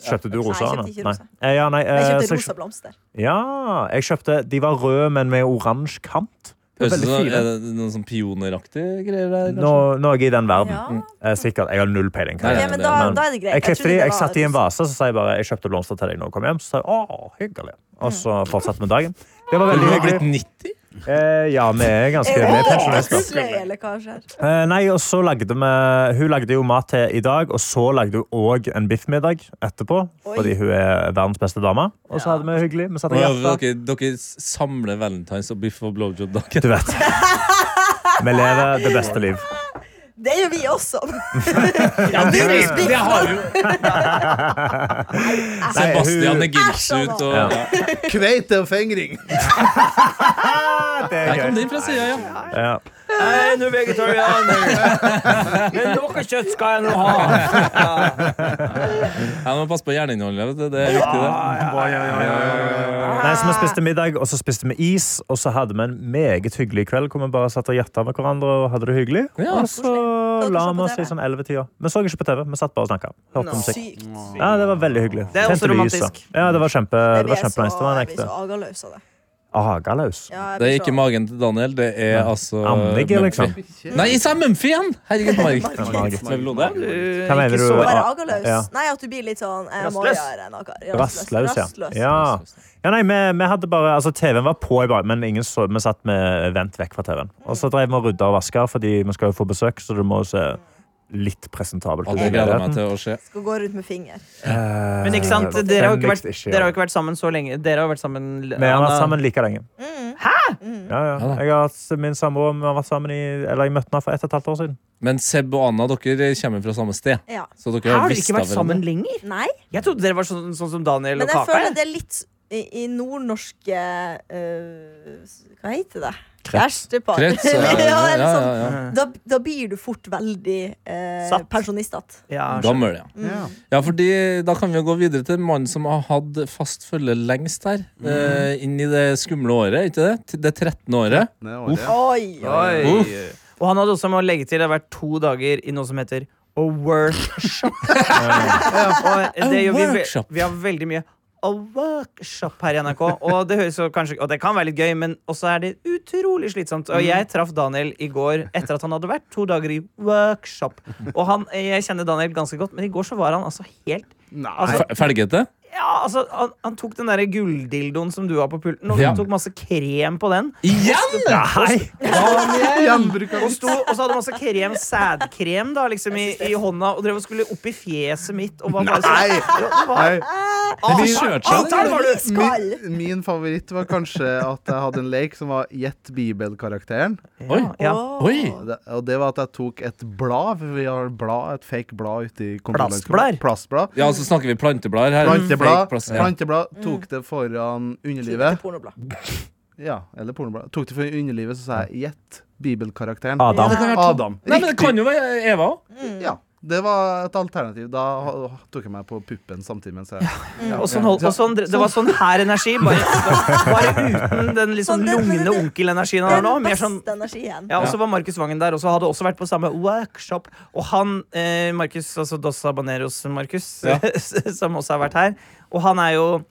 [SPEAKER 5] Kjøpte
[SPEAKER 4] Nei,
[SPEAKER 5] du
[SPEAKER 4] jeg
[SPEAKER 5] roser?
[SPEAKER 4] kjøpte
[SPEAKER 5] Anna?
[SPEAKER 4] ikke
[SPEAKER 5] Nei.
[SPEAKER 4] roser.
[SPEAKER 5] Eh, ja, nei,
[SPEAKER 4] Jeg
[SPEAKER 5] eh, så
[SPEAKER 4] kjøpte
[SPEAKER 5] jeg
[SPEAKER 4] rosa blomster.
[SPEAKER 5] kjøp- Ja, jeg kjøpte De var røde, men med oransje kant. Det
[SPEAKER 2] Høres ut
[SPEAKER 5] var Veldig
[SPEAKER 2] som er
[SPEAKER 5] fine.
[SPEAKER 2] det noen sånn pioneraktig greier der. kanskje?
[SPEAKER 5] Nå, noe i den verden.
[SPEAKER 4] Ja.
[SPEAKER 5] Eh, sikkert. Jeg har null peiling.
[SPEAKER 2] sånn. Nei,
[SPEAKER 4] Ok,
[SPEAKER 2] nei,
[SPEAKER 4] men
[SPEAKER 2] det-
[SPEAKER 4] da,
[SPEAKER 5] men-
[SPEAKER 4] da er det greit.
[SPEAKER 5] Jeg
[SPEAKER 4] trodde
[SPEAKER 5] klippte
[SPEAKER 4] det
[SPEAKER 5] de, jeg
[SPEAKER 4] var
[SPEAKER 5] satte de i en
[SPEAKER 4] rosa.
[SPEAKER 5] vase, så sa jeg bare jeg kjøpte blomster til deg når du kom hjem. Så sa jeg å, hyggelig. Og
[SPEAKER 4] Mm.
[SPEAKER 5] så fortsatte vi dagen. Det
[SPEAKER 2] Du
[SPEAKER 5] var veldig
[SPEAKER 2] har
[SPEAKER 5] hyggelig.
[SPEAKER 2] blitt 90?
[SPEAKER 5] Eh, ja, vi er ganske vi er pensjonister.
[SPEAKER 4] Husløy, eller hva skjer?
[SPEAKER 5] Eh, nei, og så lagde vi Hun lagde jo mat til i dag, og så lagde hun òg en biffmiddag etterpå.
[SPEAKER 4] Oi.
[SPEAKER 5] Fordi hun er verdens beste dame. Og så hadde vi det hyggelig. Vi satte
[SPEAKER 2] Nå,
[SPEAKER 5] hjerte.
[SPEAKER 2] Dere, dere samler valentines og biff og blowjob-dagen.
[SPEAKER 5] Du vet. Vi lever det beste liv.
[SPEAKER 4] Det gjør vi også.
[SPEAKER 2] Det har vi jo! Sebastian er gimps
[SPEAKER 4] Æsj,
[SPEAKER 2] ut og
[SPEAKER 5] Ja.
[SPEAKER 6] Kveite og fingring!
[SPEAKER 5] Det
[SPEAKER 2] Der kom den fra sida, ja.
[SPEAKER 5] Ja.
[SPEAKER 3] Nei, nå er vegetarianer. Men noe kjøtt skal jeg nå ha.
[SPEAKER 2] Jeg må passe på hjerneinnholdet. vet du. Det er viktig, det.
[SPEAKER 5] Nei, så Vi spiste middag, og så spiste vi is, og så hadde vi en meget hyggelig kveld. Hvor vi bare satt og hjerta med hverandre og hadde det hyggelig.
[SPEAKER 2] Ja.
[SPEAKER 5] og så
[SPEAKER 4] Koselig.
[SPEAKER 5] la
[SPEAKER 4] Hva dere så på
[SPEAKER 5] vi oss i
[SPEAKER 4] TV?
[SPEAKER 5] sånn 11-tida. Vi så ikke på TV, vi satt bare og snakka. Hørte musikk.
[SPEAKER 4] Sykt.
[SPEAKER 5] Ja, det var veldig hyggelig.
[SPEAKER 3] Det er også
[SPEAKER 5] Tente lys, da.
[SPEAKER 3] romantisk.
[SPEAKER 5] Ja, det var kjempe,
[SPEAKER 4] Jeg
[SPEAKER 5] det
[SPEAKER 4] blir
[SPEAKER 5] var
[SPEAKER 4] så,
[SPEAKER 5] kjempenice. Det var en
[SPEAKER 4] jeg blir
[SPEAKER 5] ekte
[SPEAKER 4] så agaløs av det.
[SPEAKER 5] agaløs.
[SPEAKER 4] Ja,
[SPEAKER 2] Det er
[SPEAKER 4] jeg blir
[SPEAKER 2] ikke
[SPEAKER 4] så-
[SPEAKER 2] magen til Daniel, det er altså
[SPEAKER 5] Anlegget, liksom.
[SPEAKER 2] Mumphy. Nei, sa jeg Mumphy igjen! Herregud, Mark.
[SPEAKER 5] Margit.
[SPEAKER 2] Melode.
[SPEAKER 5] Hva mener
[SPEAKER 3] Ikke
[SPEAKER 5] du?
[SPEAKER 3] så-
[SPEAKER 4] Bare agaløs?
[SPEAKER 5] Ja.
[SPEAKER 4] Nei, at du blir litt sånn eh, må
[SPEAKER 3] Rastløs.
[SPEAKER 4] gjøre noe.
[SPEAKER 5] Rastløs, ja.
[SPEAKER 4] Rastløs.
[SPEAKER 5] ja. Ja, nei, vi, vi hadde bare, altså TV-en var på, i bar, men ingen så, vi satt med vent vekk fra TV-en. Og så drev vi og rydda og vaska, fordi vi skal jo få besøk, så det må se litt presentabelt
[SPEAKER 2] Ja, Det gleder jeg meg til å se.
[SPEAKER 4] Skal gå rundt med finger.
[SPEAKER 3] Men ikke sant,
[SPEAKER 5] Eh,
[SPEAKER 3] dere har jo ikke vært,
[SPEAKER 5] Fenix, ikke, ja.
[SPEAKER 3] dere har jo ikke vært sammen så lenge. Dere har jo vært sammen
[SPEAKER 5] Vi har vært sammen like lenge.
[SPEAKER 4] Mm.
[SPEAKER 5] Hæ?! Ja, ja.
[SPEAKER 2] da.
[SPEAKER 5] Jeg har hatt min samboer, vi har vært sammen i, eller jeg møtte henne for ett og et halvt år siden.
[SPEAKER 2] Men Seb og Anna, dere kommer fra samme sted.
[SPEAKER 4] Ja.
[SPEAKER 2] Så dere har
[SPEAKER 3] Har dere
[SPEAKER 2] visst
[SPEAKER 3] ikke
[SPEAKER 2] av
[SPEAKER 3] vært sammen
[SPEAKER 2] hverandre.
[SPEAKER 3] lenger?
[SPEAKER 4] Nei,
[SPEAKER 3] Jeg trodde dere var sånn, sånn som Daniel
[SPEAKER 4] men
[SPEAKER 3] og
[SPEAKER 4] jeg føler
[SPEAKER 3] Kaka.
[SPEAKER 4] det er litt i, i nordnorske eh, Hva heter det?
[SPEAKER 5] Krets.
[SPEAKER 4] Kjærestepar.
[SPEAKER 2] Krets, ja,
[SPEAKER 4] Eller- ja, eller
[SPEAKER 2] ja,
[SPEAKER 4] sånn.
[SPEAKER 2] ja, ja.
[SPEAKER 3] Mhm.
[SPEAKER 4] Da, da blir du fort veldig eh,
[SPEAKER 3] Satt.
[SPEAKER 4] pensjonistete.
[SPEAKER 3] Ja, skjønner.
[SPEAKER 2] Gammel, ja.
[SPEAKER 6] Ja.
[SPEAKER 2] Ja, fordi Da kan vi jo gå videre til mannen som har hatt fast følge lengst her.
[SPEAKER 6] Mhm.
[SPEAKER 2] Eh, inn i det skumle året, ikke det? Til det 13. året.
[SPEAKER 6] Det er året.
[SPEAKER 4] Oi, oi.
[SPEAKER 3] Oi. Og han hadde også med å legge til det har vært to dager i noe som heter a workshop. og det gjør vi, ve-
[SPEAKER 2] workshop.
[SPEAKER 3] vi har veldig mye a workshop her i NRK. Og det høres jo kanskje Og det kan være litt gøy, men også er det utrolig slitsomt.
[SPEAKER 2] Mm.
[SPEAKER 3] Og jeg traff Daniel i går etter at han hadde vært to dager i workshop. Og han, jeg kjenner Daniel ganske godt, men i går så var han altså helt
[SPEAKER 6] Nei.
[SPEAKER 3] altså,
[SPEAKER 2] Fe- Felgete?
[SPEAKER 3] ja, altså, han, han tok den derre gulldildoen som du har på pulten, og
[SPEAKER 2] Ja.
[SPEAKER 3] han tok masse krem på den.
[SPEAKER 2] Igjen?!
[SPEAKER 5] Nei!
[SPEAKER 6] Gjenbruk av
[SPEAKER 3] Og, sto, og så hadde masse krem, sædkrem da, liksom, i, i hånda, og drev og skulle opp i fjeset mitt. Og var bare sånn,
[SPEAKER 6] Nei.
[SPEAKER 3] Jo, det var,
[SPEAKER 6] Nei.
[SPEAKER 2] Vi
[SPEAKER 3] Ah,
[SPEAKER 2] kjørte
[SPEAKER 3] ah,
[SPEAKER 2] seg.
[SPEAKER 3] der var du!
[SPEAKER 4] Skall!
[SPEAKER 6] Min, min favoritt var kanskje at jeg hadde en lek som var Gjett bibelkarakteren.
[SPEAKER 2] Oi.
[SPEAKER 3] Ja.
[SPEAKER 4] Åh.
[SPEAKER 2] Oi.
[SPEAKER 6] Og det- Og det var at jeg tok et blad. for Vi har blad, et fake blad ute i kontorlandskapet.
[SPEAKER 3] Plastblader.
[SPEAKER 6] Plastblad.
[SPEAKER 2] Ja, så snakker vi planteblader her.
[SPEAKER 6] Planteblad.
[SPEAKER 2] Fake plass- ja.
[SPEAKER 6] Planteblad. Mm. Tok det foran
[SPEAKER 4] Skriv
[SPEAKER 6] underlivet.
[SPEAKER 4] til pornoblad.
[SPEAKER 6] Ja, eller pornoblad. Tok det foran underlivet, så sa jeg Gjett bibelkarakteren.
[SPEAKER 5] Adam.
[SPEAKER 6] Adam.
[SPEAKER 2] Nei, men det kan jo være Eva òg.
[SPEAKER 6] Ja. Det var et alternativ. Da ha- tok jeg meg på puppen samtidig mens jeg
[SPEAKER 3] Og sånn, hold, og sånn, det var sånn her energi, bare, bare uten den liksom
[SPEAKER 4] Sånn, det-
[SPEAKER 3] lugne
[SPEAKER 4] det- det-
[SPEAKER 3] onkelenergien han har nå.
[SPEAKER 4] Den
[SPEAKER 3] Mer sånn
[SPEAKER 4] beste energien.
[SPEAKER 3] ja, og så var Markus Vangen der, og så hadde også vært på samme workshop. Og han, eh, Markus, altså Dos Habaneros Markus,
[SPEAKER 2] Ja.
[SPEAKER 3] som også har vært her, og han er jo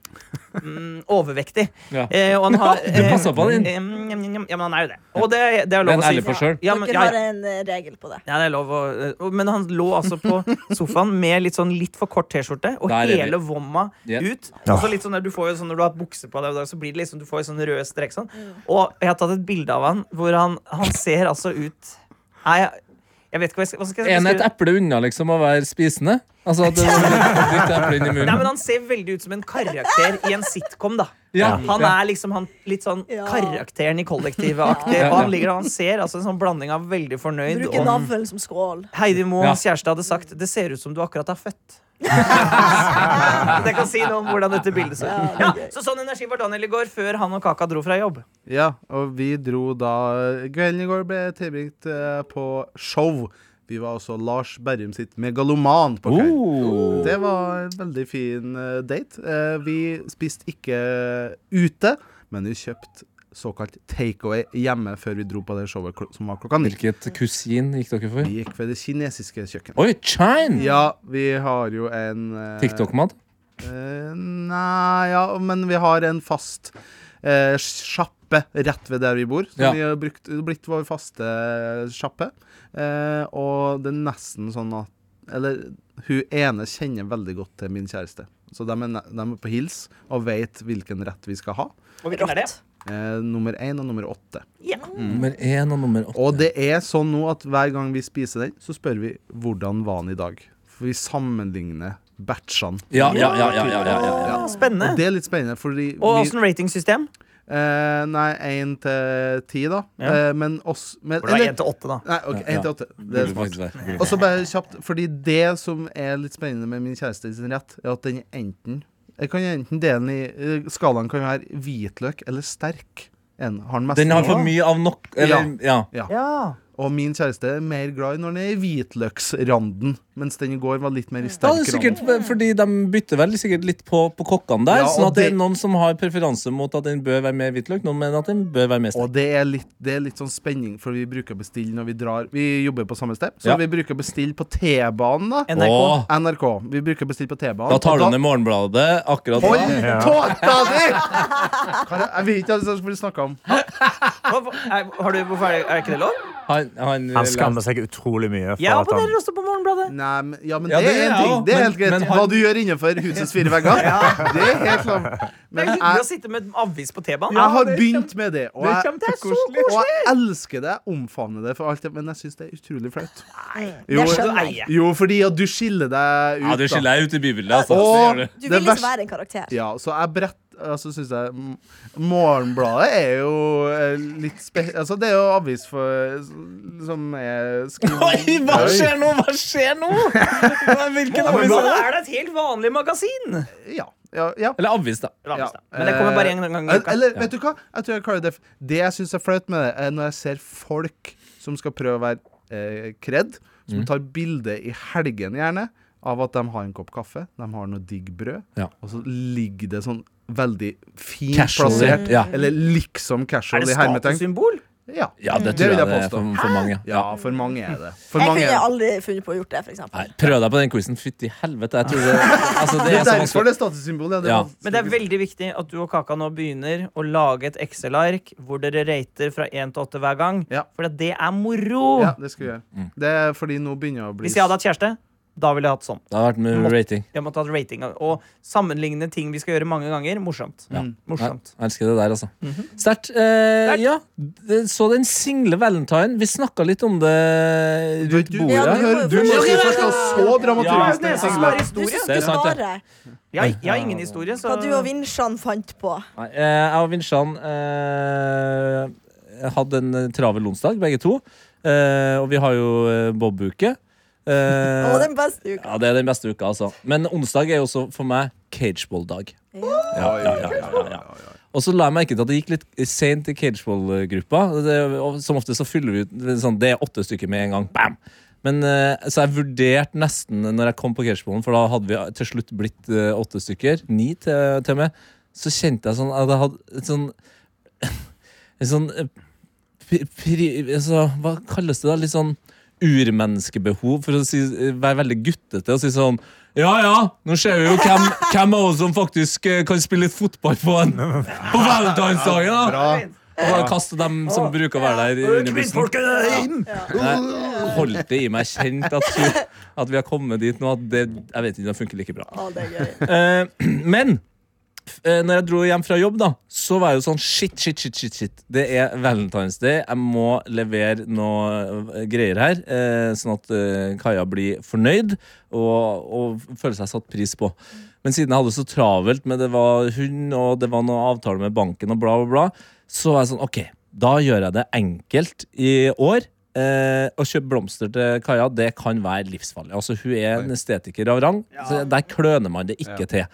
[SPEAKER 3] mm, overvektig.
[SPEAKER 2] Ja.
[SPEAKER 3] Eh, og han har
[SPEAKER 2] Du passet på den.
[SPEAKER 3] eh, mm, mm, mm, Ja, men han er jo det. Og det, det er
[SPEAKER 2] Den
[SPEAKER 3] lov å si.
[SPEAKER 2] ærlig for selv.
[SPEAKER 3] Ja, men,
[SPEAKER 4] Dere
[SPEAKER 3] ja,
[SPEAKER 4] har
[SPEAKER 3] ja.
[SPEAKER 4] en eh, regel på det.
[SPEAKER 3] Ja, det er lov å, og- Men han lå altså på sofaen med litt sånn litt for kort T-skjorte og
[SPEAKER 2] Der er vi.
[SPEAKER 3] hele vomma
[SPEAKER 2] Ja.
[SPEAKER 3] ut. Og så litt sånn der, du får jo sånn, Når du har bukse på deg, i dag, så blir det liksom, du får jo sånn rød strek
[SPEAKER 4] Mm.
[SPEAKER 3] sånn. Og jeg har tatt et bilde av han hvor han, han ser altså ut Nei, jeg- Jeg vet ikke hva jeg skal, hva skal jeg
[SPEAKER 2] Er han et
[SPEAKER 3] beskrive-
[SPEAKER 2] eple unna liksom å være spisende? Altså at det var litt eple inn i
[SPEAKER 3] Nei, men
[SPEAKER 2] munnen?
[SPEAKER 3] Han ser veldig ut som en karakter i en sitcom. da
[SPEAKER 2] Ja.
[SPEAKER 3] Han er liksom han, litt sånn
[SPEAKER 4] Ja.
[SPEAKER 3] karakteren i kollektivet-aktig.
[SPEAKER 2] Ja.
[SPEAKER 3] Og han ligger der, han ser altså en sånn blanding av veldig fornøyd
[SPEAKER 4] Bruker
[SPEAKER 3] og
[SPEAKER 4] navlen som skål.
[SPEAKER 3] Heidi
[SPEAKER 2] Ja.
[SPEAKER 3] Moens kjæreste hadde sagt 'det ser ut som du akkurat er født'. det kan si noe om hvordan dette bildet ser ut. Ja, så sånn energi var Daniel i går før han og Kaka dro fra jobb.
[SPEAKER 6] Ja, og vi dro da Kvelden i går ble tilbringt eh, på show. Vi var også Lars Berrum sitt megaloman på kvelden.
[SPEAKER 2] Oh.
[SPEAKER 6] Det var en veldig fin eh, date. Eh, Vi spiste ikke eh, ute, men vi kjøpte såkalt takeaway hjemme før vi dro på det showet kl- som var klokka ni.
[SPEAKER 2] Hvilket kusin gikk dere for?
[SPEAKER 6] Vi gikk ved det kinesiske kjøkkenet.
[SPEAKER 2] Oi, Chine!
[SPEAKER 6] Ja, vi har jo en eh,
[SPEAKER 2] TikTok-mat?
[SPEAKER 6] Eh, nei, ja, men vi har en fast eh, sjappe rett ved der vi bor. Som
[SPEAKER 2] Ja.
[SPEAKER 6] vi har brukt, blitt vår faste sjappe. Eh, og det er nesten sånn at Eller hun ene kjenner veldig godt til min kjæreste. Så de er, ne- de er på hils og vet hvilken rett vi skal ha.
[SPEAKER 3] Og hvilken er det?
[SPEAKER 6] Eh, nummer én og nummer åtte. Mm.
[SPEAKER 2] Nummer én og nummer åtte.
[SPEAKER 6] Og det er sånn nå at hver gang vi spiser den, så spør vi hvordan var den i dag. For vi sammenligner batchene.
[SPEAKER 2] Ja, ja, ja, ja, ja, ja, ja.
[SPEAKER 6] Ja. Og
[SPEAKER 3] Spennende.
[SPEAKER 6] det er litt spennende, fordi
[SPEAKER 3] Og altså,
[SPEAKER 6] vi-
[SPEAKER 3] åssen ratingsystem?
[SPEAKER 6] Eh, nei, én til ti, da.
[SPEAKER 3] Ja.
[SPEAKER 6] Eh, men oss men,
[SPEAKER 3] Hvor det var
[SPEAKER 6] eller-
[SPEAKER 3] én til åtte, da.
[SPEAKER 6] Nei, ok, én til åtte. Det er
[SPEAKER 2] Burde
[SPEAKER 6] smart.
[SPEAKER 2] faktisk være.
[SPEAKER 6] Og så bare kjapt, fordi det som er litt spennende med min kjæreste sin rett, er at den er enten Jeg kan enten dele den i eh, Skalaen kan være hvitløk eller sterk. En, har den mest
[SPEAKER 2] Den har for mye av nok Eller, ja.
[SPEAKER 3] Ja.
[SPEAKER 6] Og min kjæreste er mer glad i når den er i hvitløksranden, mens den i går var litt mer i
[SPEAKER 2] Ja,
[SPEAKER 6] sterk
[SPEAKER 2] det er sikkert
[SPEAKER 6] rand.
[SPEAKER 2] fordi De bytter vel sikkert litt på, på kokkene der.
[SPEAKER 6] Ja, og
[SPEAKER 2] sånn at det er
[SPEAKER 6] det-
[SPEAKER 2] Noen som har preferanse mot at den bør være mer hvitløk, noen mener at den bør være mer sterk.
[SPEAKER 6] Og det er, litt, det er litt sånn spenning, for vi bruker å bestille når vi drar Vi jobber på samme sted, så
[SPEAKER 2] Ja.
[SPEAKER 6] vi bruker å bestille på T-banen, da.
[SPEAKER 3] NRK.
[SPEAKER 2] Åh,
[SPEAKER 6] NRK. Vi bruker å bestille på T-banen.
[SPEAKER 2] da tar du
[SPEAKER 6] og
[SPEAKER 2] ned Morgenbladet akkurat
[SPEAKER 6] Hold
[SPEAKER 2] da.
[SPEAKER 5] Ja.
[SPEAKER 6] tåta di! Hva er det- Jeg vet ikke hva jeg skulle snakke om.
[SPEAKER 3] Hva- hva- er- Har du, hvorfor er, det- er ikke det lov?
[SPEAKER 2] Han, han,
[SPEAKER 3] eh,
[SPEAKER 2] eh,
[SPEAKER 5] Han skammer seg utrolig mye. For
[SPEAKER 3] Jeg
[SPEAKER 5] at han,
[SPEAKER 3] abonnerer også på Morgenbladet.
[SPEAKER 6] Nei, men, ja, men
[SPEAKER 2] Ja,
[SPEAKER 6] det
[SPEAKER 2] det
[SPEAKER 6] er
[SPEAKER 2] er
[SPEAKER 6] en
[SPEAKER 2] jeg
[SPEAKER 6] ting.
[SPEAKER 2] også,
[SPEAKER 6] Det er
[SPEAKER 2] men-
[SPEAKER 6] helt greit.
[SPEAKER 2] men han-
[SPEAKER 6] Hva du gjør innenfor husets fire vegger, det er helt lov.
[SPEAKER 3] Det er
[SPEAKER 6] Men
[SPEAKER 3] hyggelig
[SPEAKER 6] jeg,
[SPEAKER 3] å sitte med en avis på T-banen.
[SPEAKER 6] jeg har begynt med det, og jeg,
[SPEAKER 3] Det er så koselig.
[SPEAKER 6] og jeg elsker det. Jeg omfavner det for alt det, men jeg syns det er utrolig flaut. Jo,
[SPEAKER 4] Det
[SPEAKER 3] Du
[SPEAKER 4] skjønner jeg.
[SPEAKER 3] eier.
[SPEAKER 6] jo, fordi at du skiller deg ut,
[SPEAKER 2] Ja, det skiller jeg ut i bybildet. Altså. Det gjør
[SPEAKER 6] Og-
[SPEAKER 2] det.
[SPEAKER 4] Du
[SPEAKER 6] Det
[SPEAKER 4] vil
[SPEAKER 6] verste-
[SPEAKER 4] liksom være en karakter.
[SPEAKER 6] Ja, så jeg brett Altså synes jeg m- Morgenbladet er jo eh, litt spe... Altså det er jo avis for Som er
[SPEAKER 2] Oi,
[SPEAKER 6] skrivet
[SPEAKER 2] hva skjer nå? Hva skjer nå? Hva- Hvilken avis er
[SPEAKER 3] Morgenbladet
[SPEAKER 2] det?
[SPEAKER 3] er da et helt vanlig magasin.
[SPEAKER 6] Ja, ja, ja.
[SPEAKER 2] Eller avis, da.
[SPEAKER 6] Ja.
[SPEAKER 3] Men det kommer bare en gang i
[SPEAKER 6] Eh,
[SPEAKER 3] uka.
[SPEAKER 6] Eller vet du hva? Jeg tror jeg kaller det f- Det jeg syns er flaut med det, er når jeg ser folk som skal prøve å være eh, kred,
[SPEAKER 3] Mm.
[SPEAKER 6] som tar bilde i helgen gjerne av at de har en kopp kaffe, de har noe digg brød,
[SPEAKER 2] Ja.
[SPEAKER 6] og så ligger det sånn veldig fint
[SPEAKER 2] Casual,
[SPEAKER 6] plassert.
[SPEAKER 2] ja.
[SPEAKER 6] Eller liksom
[SPEAKER 3] Er
[SPEAKER 6] casual
[SPEAKER 3] det
[SPEAKER 6] i hermetegn.
[SPEAKER 3] statussymbol?
[SPEAKER 6] Ja.
[SPEAKER 2] Ja, det
[SPEAKER 6] Det
[SPEAKER 2] tror
[SPEAKER 6] vil
[SPEAKER 2] jeg
[SPEAKER 6] jeg
[SPEAKER 2] det er
[SPEAKER 6] påstå.
[SPEAKER 2] for, for mange.
[SPEAKER 6] ja, for mange er det. For
[SPEAKER 4] Jeg
[SPEAKER 6] mange er
[SPEAKER 4] kunne
[SPEAKER 6] det.
[SPEAKER 4] aldri funnet på å gjort det, for
[SPEAKER 2] Nei,
[SPEAKER 4] eksempel.
[SPEAKER 2] prøv deg på den quizen. Fytti helvete. Jeg tror det, altså, det er
[SPEAKER 6] Det er
[SPEAKER 2] så
[SPEAKER 6] derfor
[SPEAKER 2] vanskelig.
[SPEAKER 6] det er statussymbolet.
[SPEAKER 2] Ja.
[SPEAKER 3] Men det er veldig viktig at du og Kaka nå begynner å lage et Excel-ark hvor dere rater fra 1 til 8 hver gang.
[SPEAKER 6] Ja.
[SPEAKER 3] For det er moro!
[SPEAKER 6] ja, det skal vi gjøre. Det er fordi nå begynner jeg å bli
[SPEAKER 3] Hvis jeg hadde hatt kjæreste, da ville jeg hatt sånn.
[SPEAKER 2] Det har vært med rating.
[SPEAKER 3] Jeg måtte hatt rating Og sammenligne ting vi skal gjøre mange ganger. Morsomt.
[SPEAKER 2] Nei,
[SPEAKER 3] Morsomt.
[SPEAKER 2] jeg elsker det der, altså.
[SPEAKER 6] Mhm.
[SPEAKER 2] Sterkt. Eh, ja, det- så den single valentine. Vi snakka litt om det rundt
[SPEAKER 6] Du,
[SPEAKER 2] bordet.
[SPEAKER 4] Ja,
[SPEAKER 6] hør,
[SPEAKER 4] må jo
[SPEAKER 6] du må
[SPEAKER 4] forstå-
[SPEAKER 6] ikke forstå så dramaturgisk.
[SPEAKER 3] Ja,
[SPEAKER 6] den
[SPEAKER 3] det er
[SPEAKER 6] singelen.
[SPEAKER 4] Du
[SPEAKER 2] Det
[SPEAKER 4] som
[SPEAKER 2] er
[SPEAKER 4] skulle
[SPEAKER 2] sant, det.
[SPEAKER 4] svare
[SPEAKER 3] Jeg, jeg har ingen historie, så
[SPEAKER 4] hva du og Vinsjan fant på.
[SPEAKER 2] Nei, eh, jeg og Vinsjan eh, hadde en eh, travel onsdag, begge to. Eh, og vi har jo eh, bob-uke. Eh,
[SPEAKER 4] Å, den beste uka.
[SPEAKER 2] ja, det er den beste uka, altså. Men onsdag er jo også for meg cageball-dag. Ja, ja, ja, ja, ja. Og så la jeg merke til at det gikk litt seint i cageball-gruppa. Det- og Som ofte så fyller vi ut det er sånn, det er åtte stykker med en gang. Bam! Men, eh, så jeg vurderte nesten når jeg kom på cageballen, for da hadde vi til slutt blitt eh, åtte stykker. Ni til, til og med. Så kjente jeg sånn at jeg hadde et sånn En sånn eh, pri, pri, altså, Hva kalles det da? Litt sånn urmenneskebehov for å si, eh, være veldig guttete og si sånn ja, ja, nå ser vi jo hvem, hvem av oss som faktisk eh, kan spille litt fotball på, en, på valentinsdagen. da.
[SPEAKER 6] Bra.
[SPEAKER 2] Og da kaste dem som bruker å være der, under bussen. Jeg holdt det i meg. Jeg Kjente at, vi- at vi har kommet dit nå at det, jeg vet ikke, det funker like bra.
[SPEAKER 4] Å, det er gøy.
[SPEAKER 2] Eh, men eh, når jeg dro hjem fra jobb, da, så var jeg jo sånn shit, shit, shit, shit, shit. Det er Valentine's Day. Jeg må levere noe eh, greier her, eh, sånn at eh, Kaja blir fornøyd og, og føler seg satt pris på. Men siden jeg hadde det så travelt med det var hund og det var noe avtale med banken og bla, bla, bla, så var jeg sånn OK, da gjør jeg det enkelt i år. Eh, å kjøpe blomster til Kaja det kan være livsfarlig. Altså Hun er en estetiker av rang. Så Der kløner man det ikke til.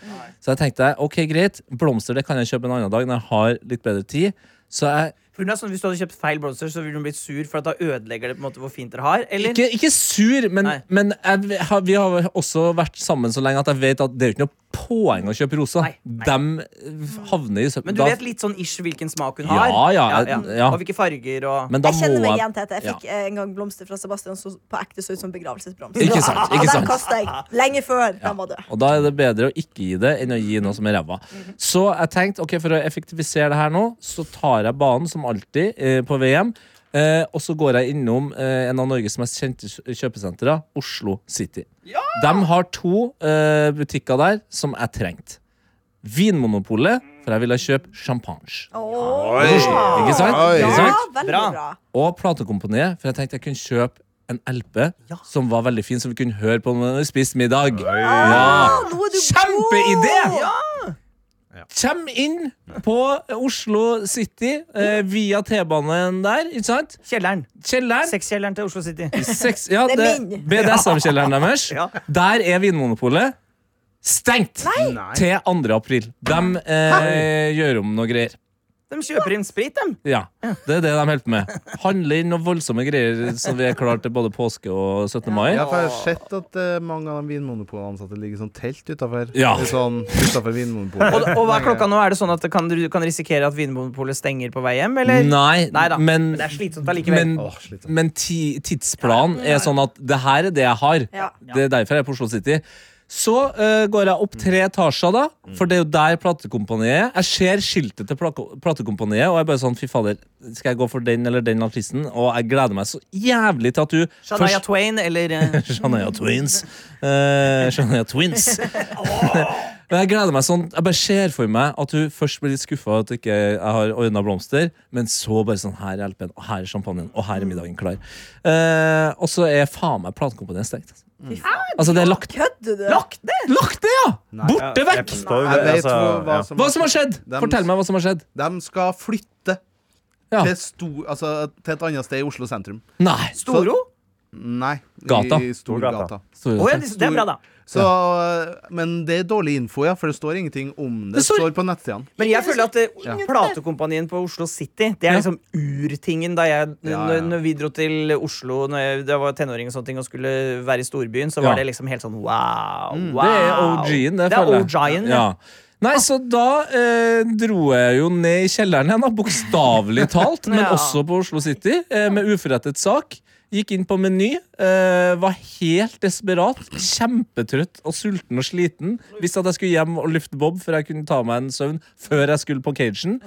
[SPEAKER 2] Så jeg tenkte ok, greit, blomster det kan jeg kjøpe en annen dag når jeg har litt bedre tid. Så jeg
[SPEAKER 3] For hun er sånn, Hvis du hadde kjøpt feil blomster, så ville hun blitt sur, for at da ødelegger det på en måte hvor fint dere har? Eller?
[SPEAKER 2] Ikke, ikke sur, men,
[SPEAKER 3] Nei.
[SPEAKER 2] men jeg, har- vi har også vært sammen så lenge at jeg vet at det er jo ikke noe poeng å kjøpe roser.
[SPEAKER 3] Nei, nei.
[SPEAKER 2] Dem eh, havner i søpla.
[SPEAKER 3] Men du vet litt sånn ish hvilken smak hun
[SPEAKER 2] Ja,
[SPEAKER 3] har?
[SPEAKER 2] ja, ja.
[SPEAKER 3] Og hvilke farger og
[SPEAKER 2] men da
[SPEAKER 4] Jeg kjenner
[SPEAKER 2] må
[SPEAKER 4] meg
[SPEAKER 2] jeg-
[SPEAKER 4] igjen til dette. Jeg
[SPEAKER 2] Ja.
[SPEAKER 4] fikk eh, en gang blomster fra Sebastian som på ekte så ut som begravelsesblomster.
[SPEAKER 2] Ikke sant, ikke
[SPEAKER 4] Og
[SPEAKER 2] sant.
[SPEAKER 4] den kasta jeg lenge før de var døde.
[SPEAKER 2] Og da er det bedre å ikke gi det enn å gi noe som er ræva. Så jeg tenkte, ok, for å effektivisere det her nå, så tar jeg banen som alltid eh, på VM. Eh, og så går jeg innom eh, en av Norges mest kjente kjø- kjøpesentre, Oslo City. De har to eh, butikker der som jeg trengte. Vinmonopolet, for jeg ville kjøpe champagne.
[SPEAKER 4] Åh. Ah,
[SPEAKER 2] Ikke sant?
[SPEAKER 6] Oi.
[SPEAKER 4] Ja,
[SPEAKER 2] Ikke sant?
[SPEAKER 4] veldig
[SPEAKER 3] Bra.
[SPEAKER 4] bra.
[SPEAKER 2] og platekomponiet, for jeg tenkte jeg kunne kjøpe en LP som var veldig fin, som vi kunne høre på når vi spiste middag. Ja.
[SPEAKER 4] Nå er du
[SPEAKER 2] Kjempeidé!
[SPEAKER 4] god!
[SPEAKER 2] Kjem inn på Oslo City eh, via T-banen der, ikke sant?
[SPEAKER 3] Kjelleren.
[SPEAKER 2] Kjelleren.
[SPEAKER 3] Sexkjelleren til Oslo City.
[SPEAKER 2] Seks, ja,
[SPEAKER 4] Det er
[SPEAKER 2] det,
[SPEAKER 4] min.
[SPEAKER 2] BDSM-kjelleren deres.
[SPEAKER 3] Ja.
[SPEAKER 2] Der er Vinmonopolet stengt
[SPEAKER 6] Nei.
[SPEAKER 2] til 2. april. De eh, gjør om noe greier.
[SPEAKER 3] De kjøper inn sprit, dem.
[SPEAKER 2] Ja, det er det de holder på med. Handle inn noen voldsomme greier, så vi er klare til både påske og 17. mai.
[SPEAKER 6] Ja, for jeg har sett at eh, mange av de Vinmonopolet-ansatte ligger i sånn telt utafor
[SPEAKER 2] Ja.
[SPEAKER 6] sånn, utenfor Vinmonopolet.
[SPEAKER 3] Og, og hva er klokka nå? Er det sånn at det kan, du kan risikere at Vinmonopolet stenger på vei hjem, eller?
[SPEAKER 2] Nei,
[SPEAKER 3] Neida,
[SPEAKER 2] men,
[SPEAKER 3] men det er slitsomt allikevel.
[SPEAKER 2] men,
[SPEAKER 6] Åh, slitsomt.
[SPEAKER 2] men ti, tidsplanen er sånn at det her er det jeg har.
[SPEAKER 4] Ja.
[SPEAKER 2] Det er derfor jeg er på Oslo City. Så eh, går jeg opp tre etasjer, da, for det er jo der platekompaniet er. Jeg ser skiltet til plako- platekompaniet, og jeg er bare sånn fy fader, skal jeg gå for den eller den artisten? Og jeg gleder meg så jævlig til at du
[SPEAKER 3] Shania Twain eller eh,
[SPEAKER 2] Shania Twins. Eh, Shania Twins. Men jeg gleder meg sånn Jeg bare ser for meg at hun først blir litt skuffa at ikke jeg har ordna blomster, men så bare sånn Her er LP-en, og her er champagnen, og her er middagen klar. Eh, og så er faen meg platekompaniet stengt. altså. Altså, det er lagt
[SPEAKER 4] Kødder du?
[SPEAKER 2] Lagt ned! Lagt ned, ja! Borte
[SPEAKER 5] Jeg
[SPEAKER 2] vekk!
[SPEAKER 5] forstår jo
[SPEAKER 6] Jeg
[SPEAKER 5] det.
[SPEAKER 6] vet
[SPEAKER 5] Altså,
[SPEAKER 6] hvor- hva
[SPEAKER 5] ja.
[SPEAKER 6] som,
[SPEAKER 2] Hva som har skjedd?
[SPEAKER 6] Dem-
[SPEAKER 2] Fortell meg hva som har skjedd.
[SPEAKER 6] De skal flytte
[SPEAKER 2] Ja.
[SPEAKER 6] til, sto- altså, til et annet sted i Oslo sentrum.
[SPEAKER 2] Nei.
[SPEAKER 3] Storo?
[SPEAKER 6] Nei, i-
[SPEAKER 2] Gata.
[SPEAKER 6] i Storgata.
[SPEAKER 2] Sorry,
[SPEAKER 3] Å ja,
[SPEAKER 2] takk.
[SPEAKER 3] det det er bra, da.
[SPEAKER 6] Så, Men det er dårlig info, ja, for det står ingenting om det.
[SPEAKER 2] Det
[SPEAKER 6] Det
[SPEAKER 2] står-
[SPEAKER 6] står, på nettsidene.
[SPEAKER 3] Men jeg føler at
[SPEAKER 6] Ja.
[SPEAKER 3] eh, platekompanien på Oslo City Det er
[SPEAKER 2] Ja.
[SPEAKER 3] liksom urtingen da jeg
[SPEAKER 6] Ja,
[SPEAKER 3] når-
[SPEAKER 6] ja.
[SPEAKER 3] Når vi dro til Oslo Når jeg, da jeg var tenåring og sånne ting Og skulle være i storbyen Så
[SPEAKER 2] Ja.
[SPEAKER 3] var
[SPEAKER 2] Mm,
[SPEAKER 3] det liksom helt sånn wow, wow.
[SPEAKER 2] Det er OG-en, det,
[SPEAKER 3] Det er
[SPEAKER 2] føler jeg.
[SPEAKER 3] OG-en
[SPEAKER 2] Ja. Nei, så da eh, dro jeg jo ned i kjelleren igjen, da, bokstavelig talt, men
[SPEAKER 3] Ja.
[SPEAKER 2] også på Oslo City, eh, med uforrettet sak. Gikk inn på Meny, eh, var helt desperat, kjempetrøtt og sulten og sliten. Visste at jeg skulle hjem og lufte Bob før jeg kunne ta meg en søvn før jeg skulle på cagen.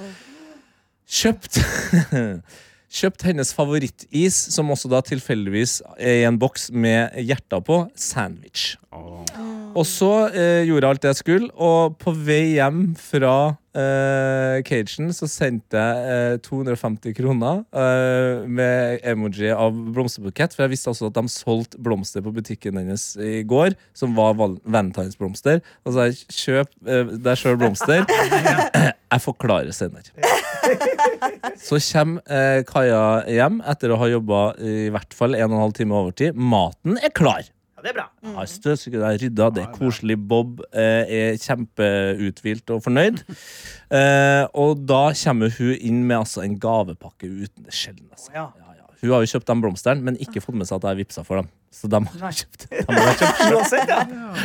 [SPEAKER 2] Kjøpt Kjøpt hennes favorittis, som også da tilfeldigvis er i en boks med hjerter på. Sandwich. Og så eh, gjorde jeg alt jeg skulle, og på vei hjem fra eh, cagen så sendte jeg eh, 250 kroner eh, med emoji av blomsterbukett, for jeg visste også at de solgte blomster på butikken hennes i går, som var val- valentinsblomster. Og så sa jeg kjøp eh, deg sjøl blomster. jeg forklarer senere. Så kommer eh, Kaja hjem etter å ha jobba i hvert fall en og en halv time overtid. Maten er klar.
[SPEAKER 3] Ja, det er bra
[SPEAKER 2] Jeg har støvsugd, jeg har rydda, det er koselig. Bob eh, er kjempeuthvilt og fornøyd. Eh, og da kommer hun inn med altså, en gavepakke uten det sjelden. Altså.
[SPEAKER 3] Ja.
[SPEAKER 2] Ja, ja. Hun har jo kjøpt de blomsterne, men ikke fått med seg at jeg vippsa for dem. Så de har jeg kjøpt de har jeg kjøpt selv.
[SPEAKER 3] Uansett, ja.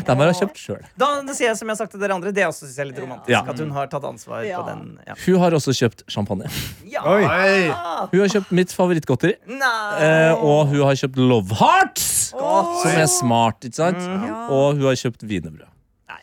[SPEAKER 2] De har jeg kjøpt selv.
[SPEAKER 3] Da det sier jeg som jeg har sagt til dere andre Det også synes jeg er litt romantisk
[SPEAKER 2] Ja.
[SPEAKER 3] At hun har tatt ansvar
[SPEAKER 4] Ja.
[SPEAKER 3] på den Ja,
[SPEAKER 2] Hun har også kjøpt champagne.
[SPEAKER 3] ja.
[SPEAKER 6] Oi.
[SPEAKER 2] Hun har kjøpt mitt favorittgodteri,
[SPEAKER 3] Nei
[SPEAKER 2] eh, og hun har kjøpt Love Hearts, som er smart, ikke sant?
[SPEAKER 4] Ja.
[SPEAKER 2] Og hun har kjøpt wienerbrød.
[SPEAKER 3] Mhm. Nei.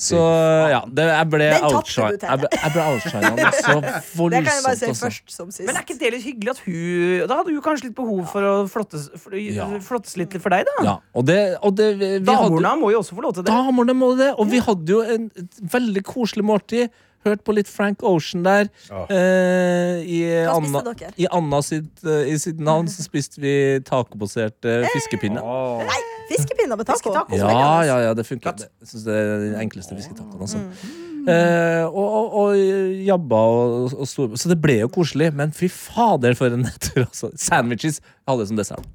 [SPEAKER 2] Så ja, det, jeg ble
[SPEAKER 4] Den tapte du,
[SPEAKER 2] outshine-
[SPEAKER 4] Tete.
[SPEAKER 2] Jeg ble- jeg ble outshina noe så
[SPEAKER 4] Det kan jeg bare
[SPEAKER 2] voldsomt.
[SPEAKER 4] si
[SPEAKER 2] altså.
[SPEAKER 4] først som
[SPEAKER 3] Men er
[SPEAKER 4] sist.
[SPEAKER 3] ikke det litt hyggelig at hun Da hadde hun kanskje litt behov for å flottes, fl-
[SPEAKER 2] Ja.
[SPEAKER 3] flottes litt for deg, da.
[SPEAKER 2] Ja, og det, og det vi vi hadde,
[SPEAKER 3] Damorna må jo også få lov til det.
[SPEAKER 2] Damerne må det! Og vi hadde jo en et veldig koselig måltid. Hørt på litt Frank Ocean der. Eh, i,
[SPEAKER 4] Hva
[SPEAKER 2] Anna,
[SPEAKER 4] spiste dere?
[SPEAKER 2] I Anna sitt, eh, i sitt navn så spiste vi tacobasert eh, fiskepinne.
[SPEAKER 4] Nei, fiskepinner med taco.
[SPEAKER 3] Fisketaco.
[SPEAKER 2] Ja, ja, ja, det funker. Det- Jeg syns det er den enkleste fisketacoen. Altså. Eh, og, og, og jabba og, og stor... Så det ble jo koselig, men fy fader, for en nedtur! Altså. Sandwiches jeg hadde som dessert.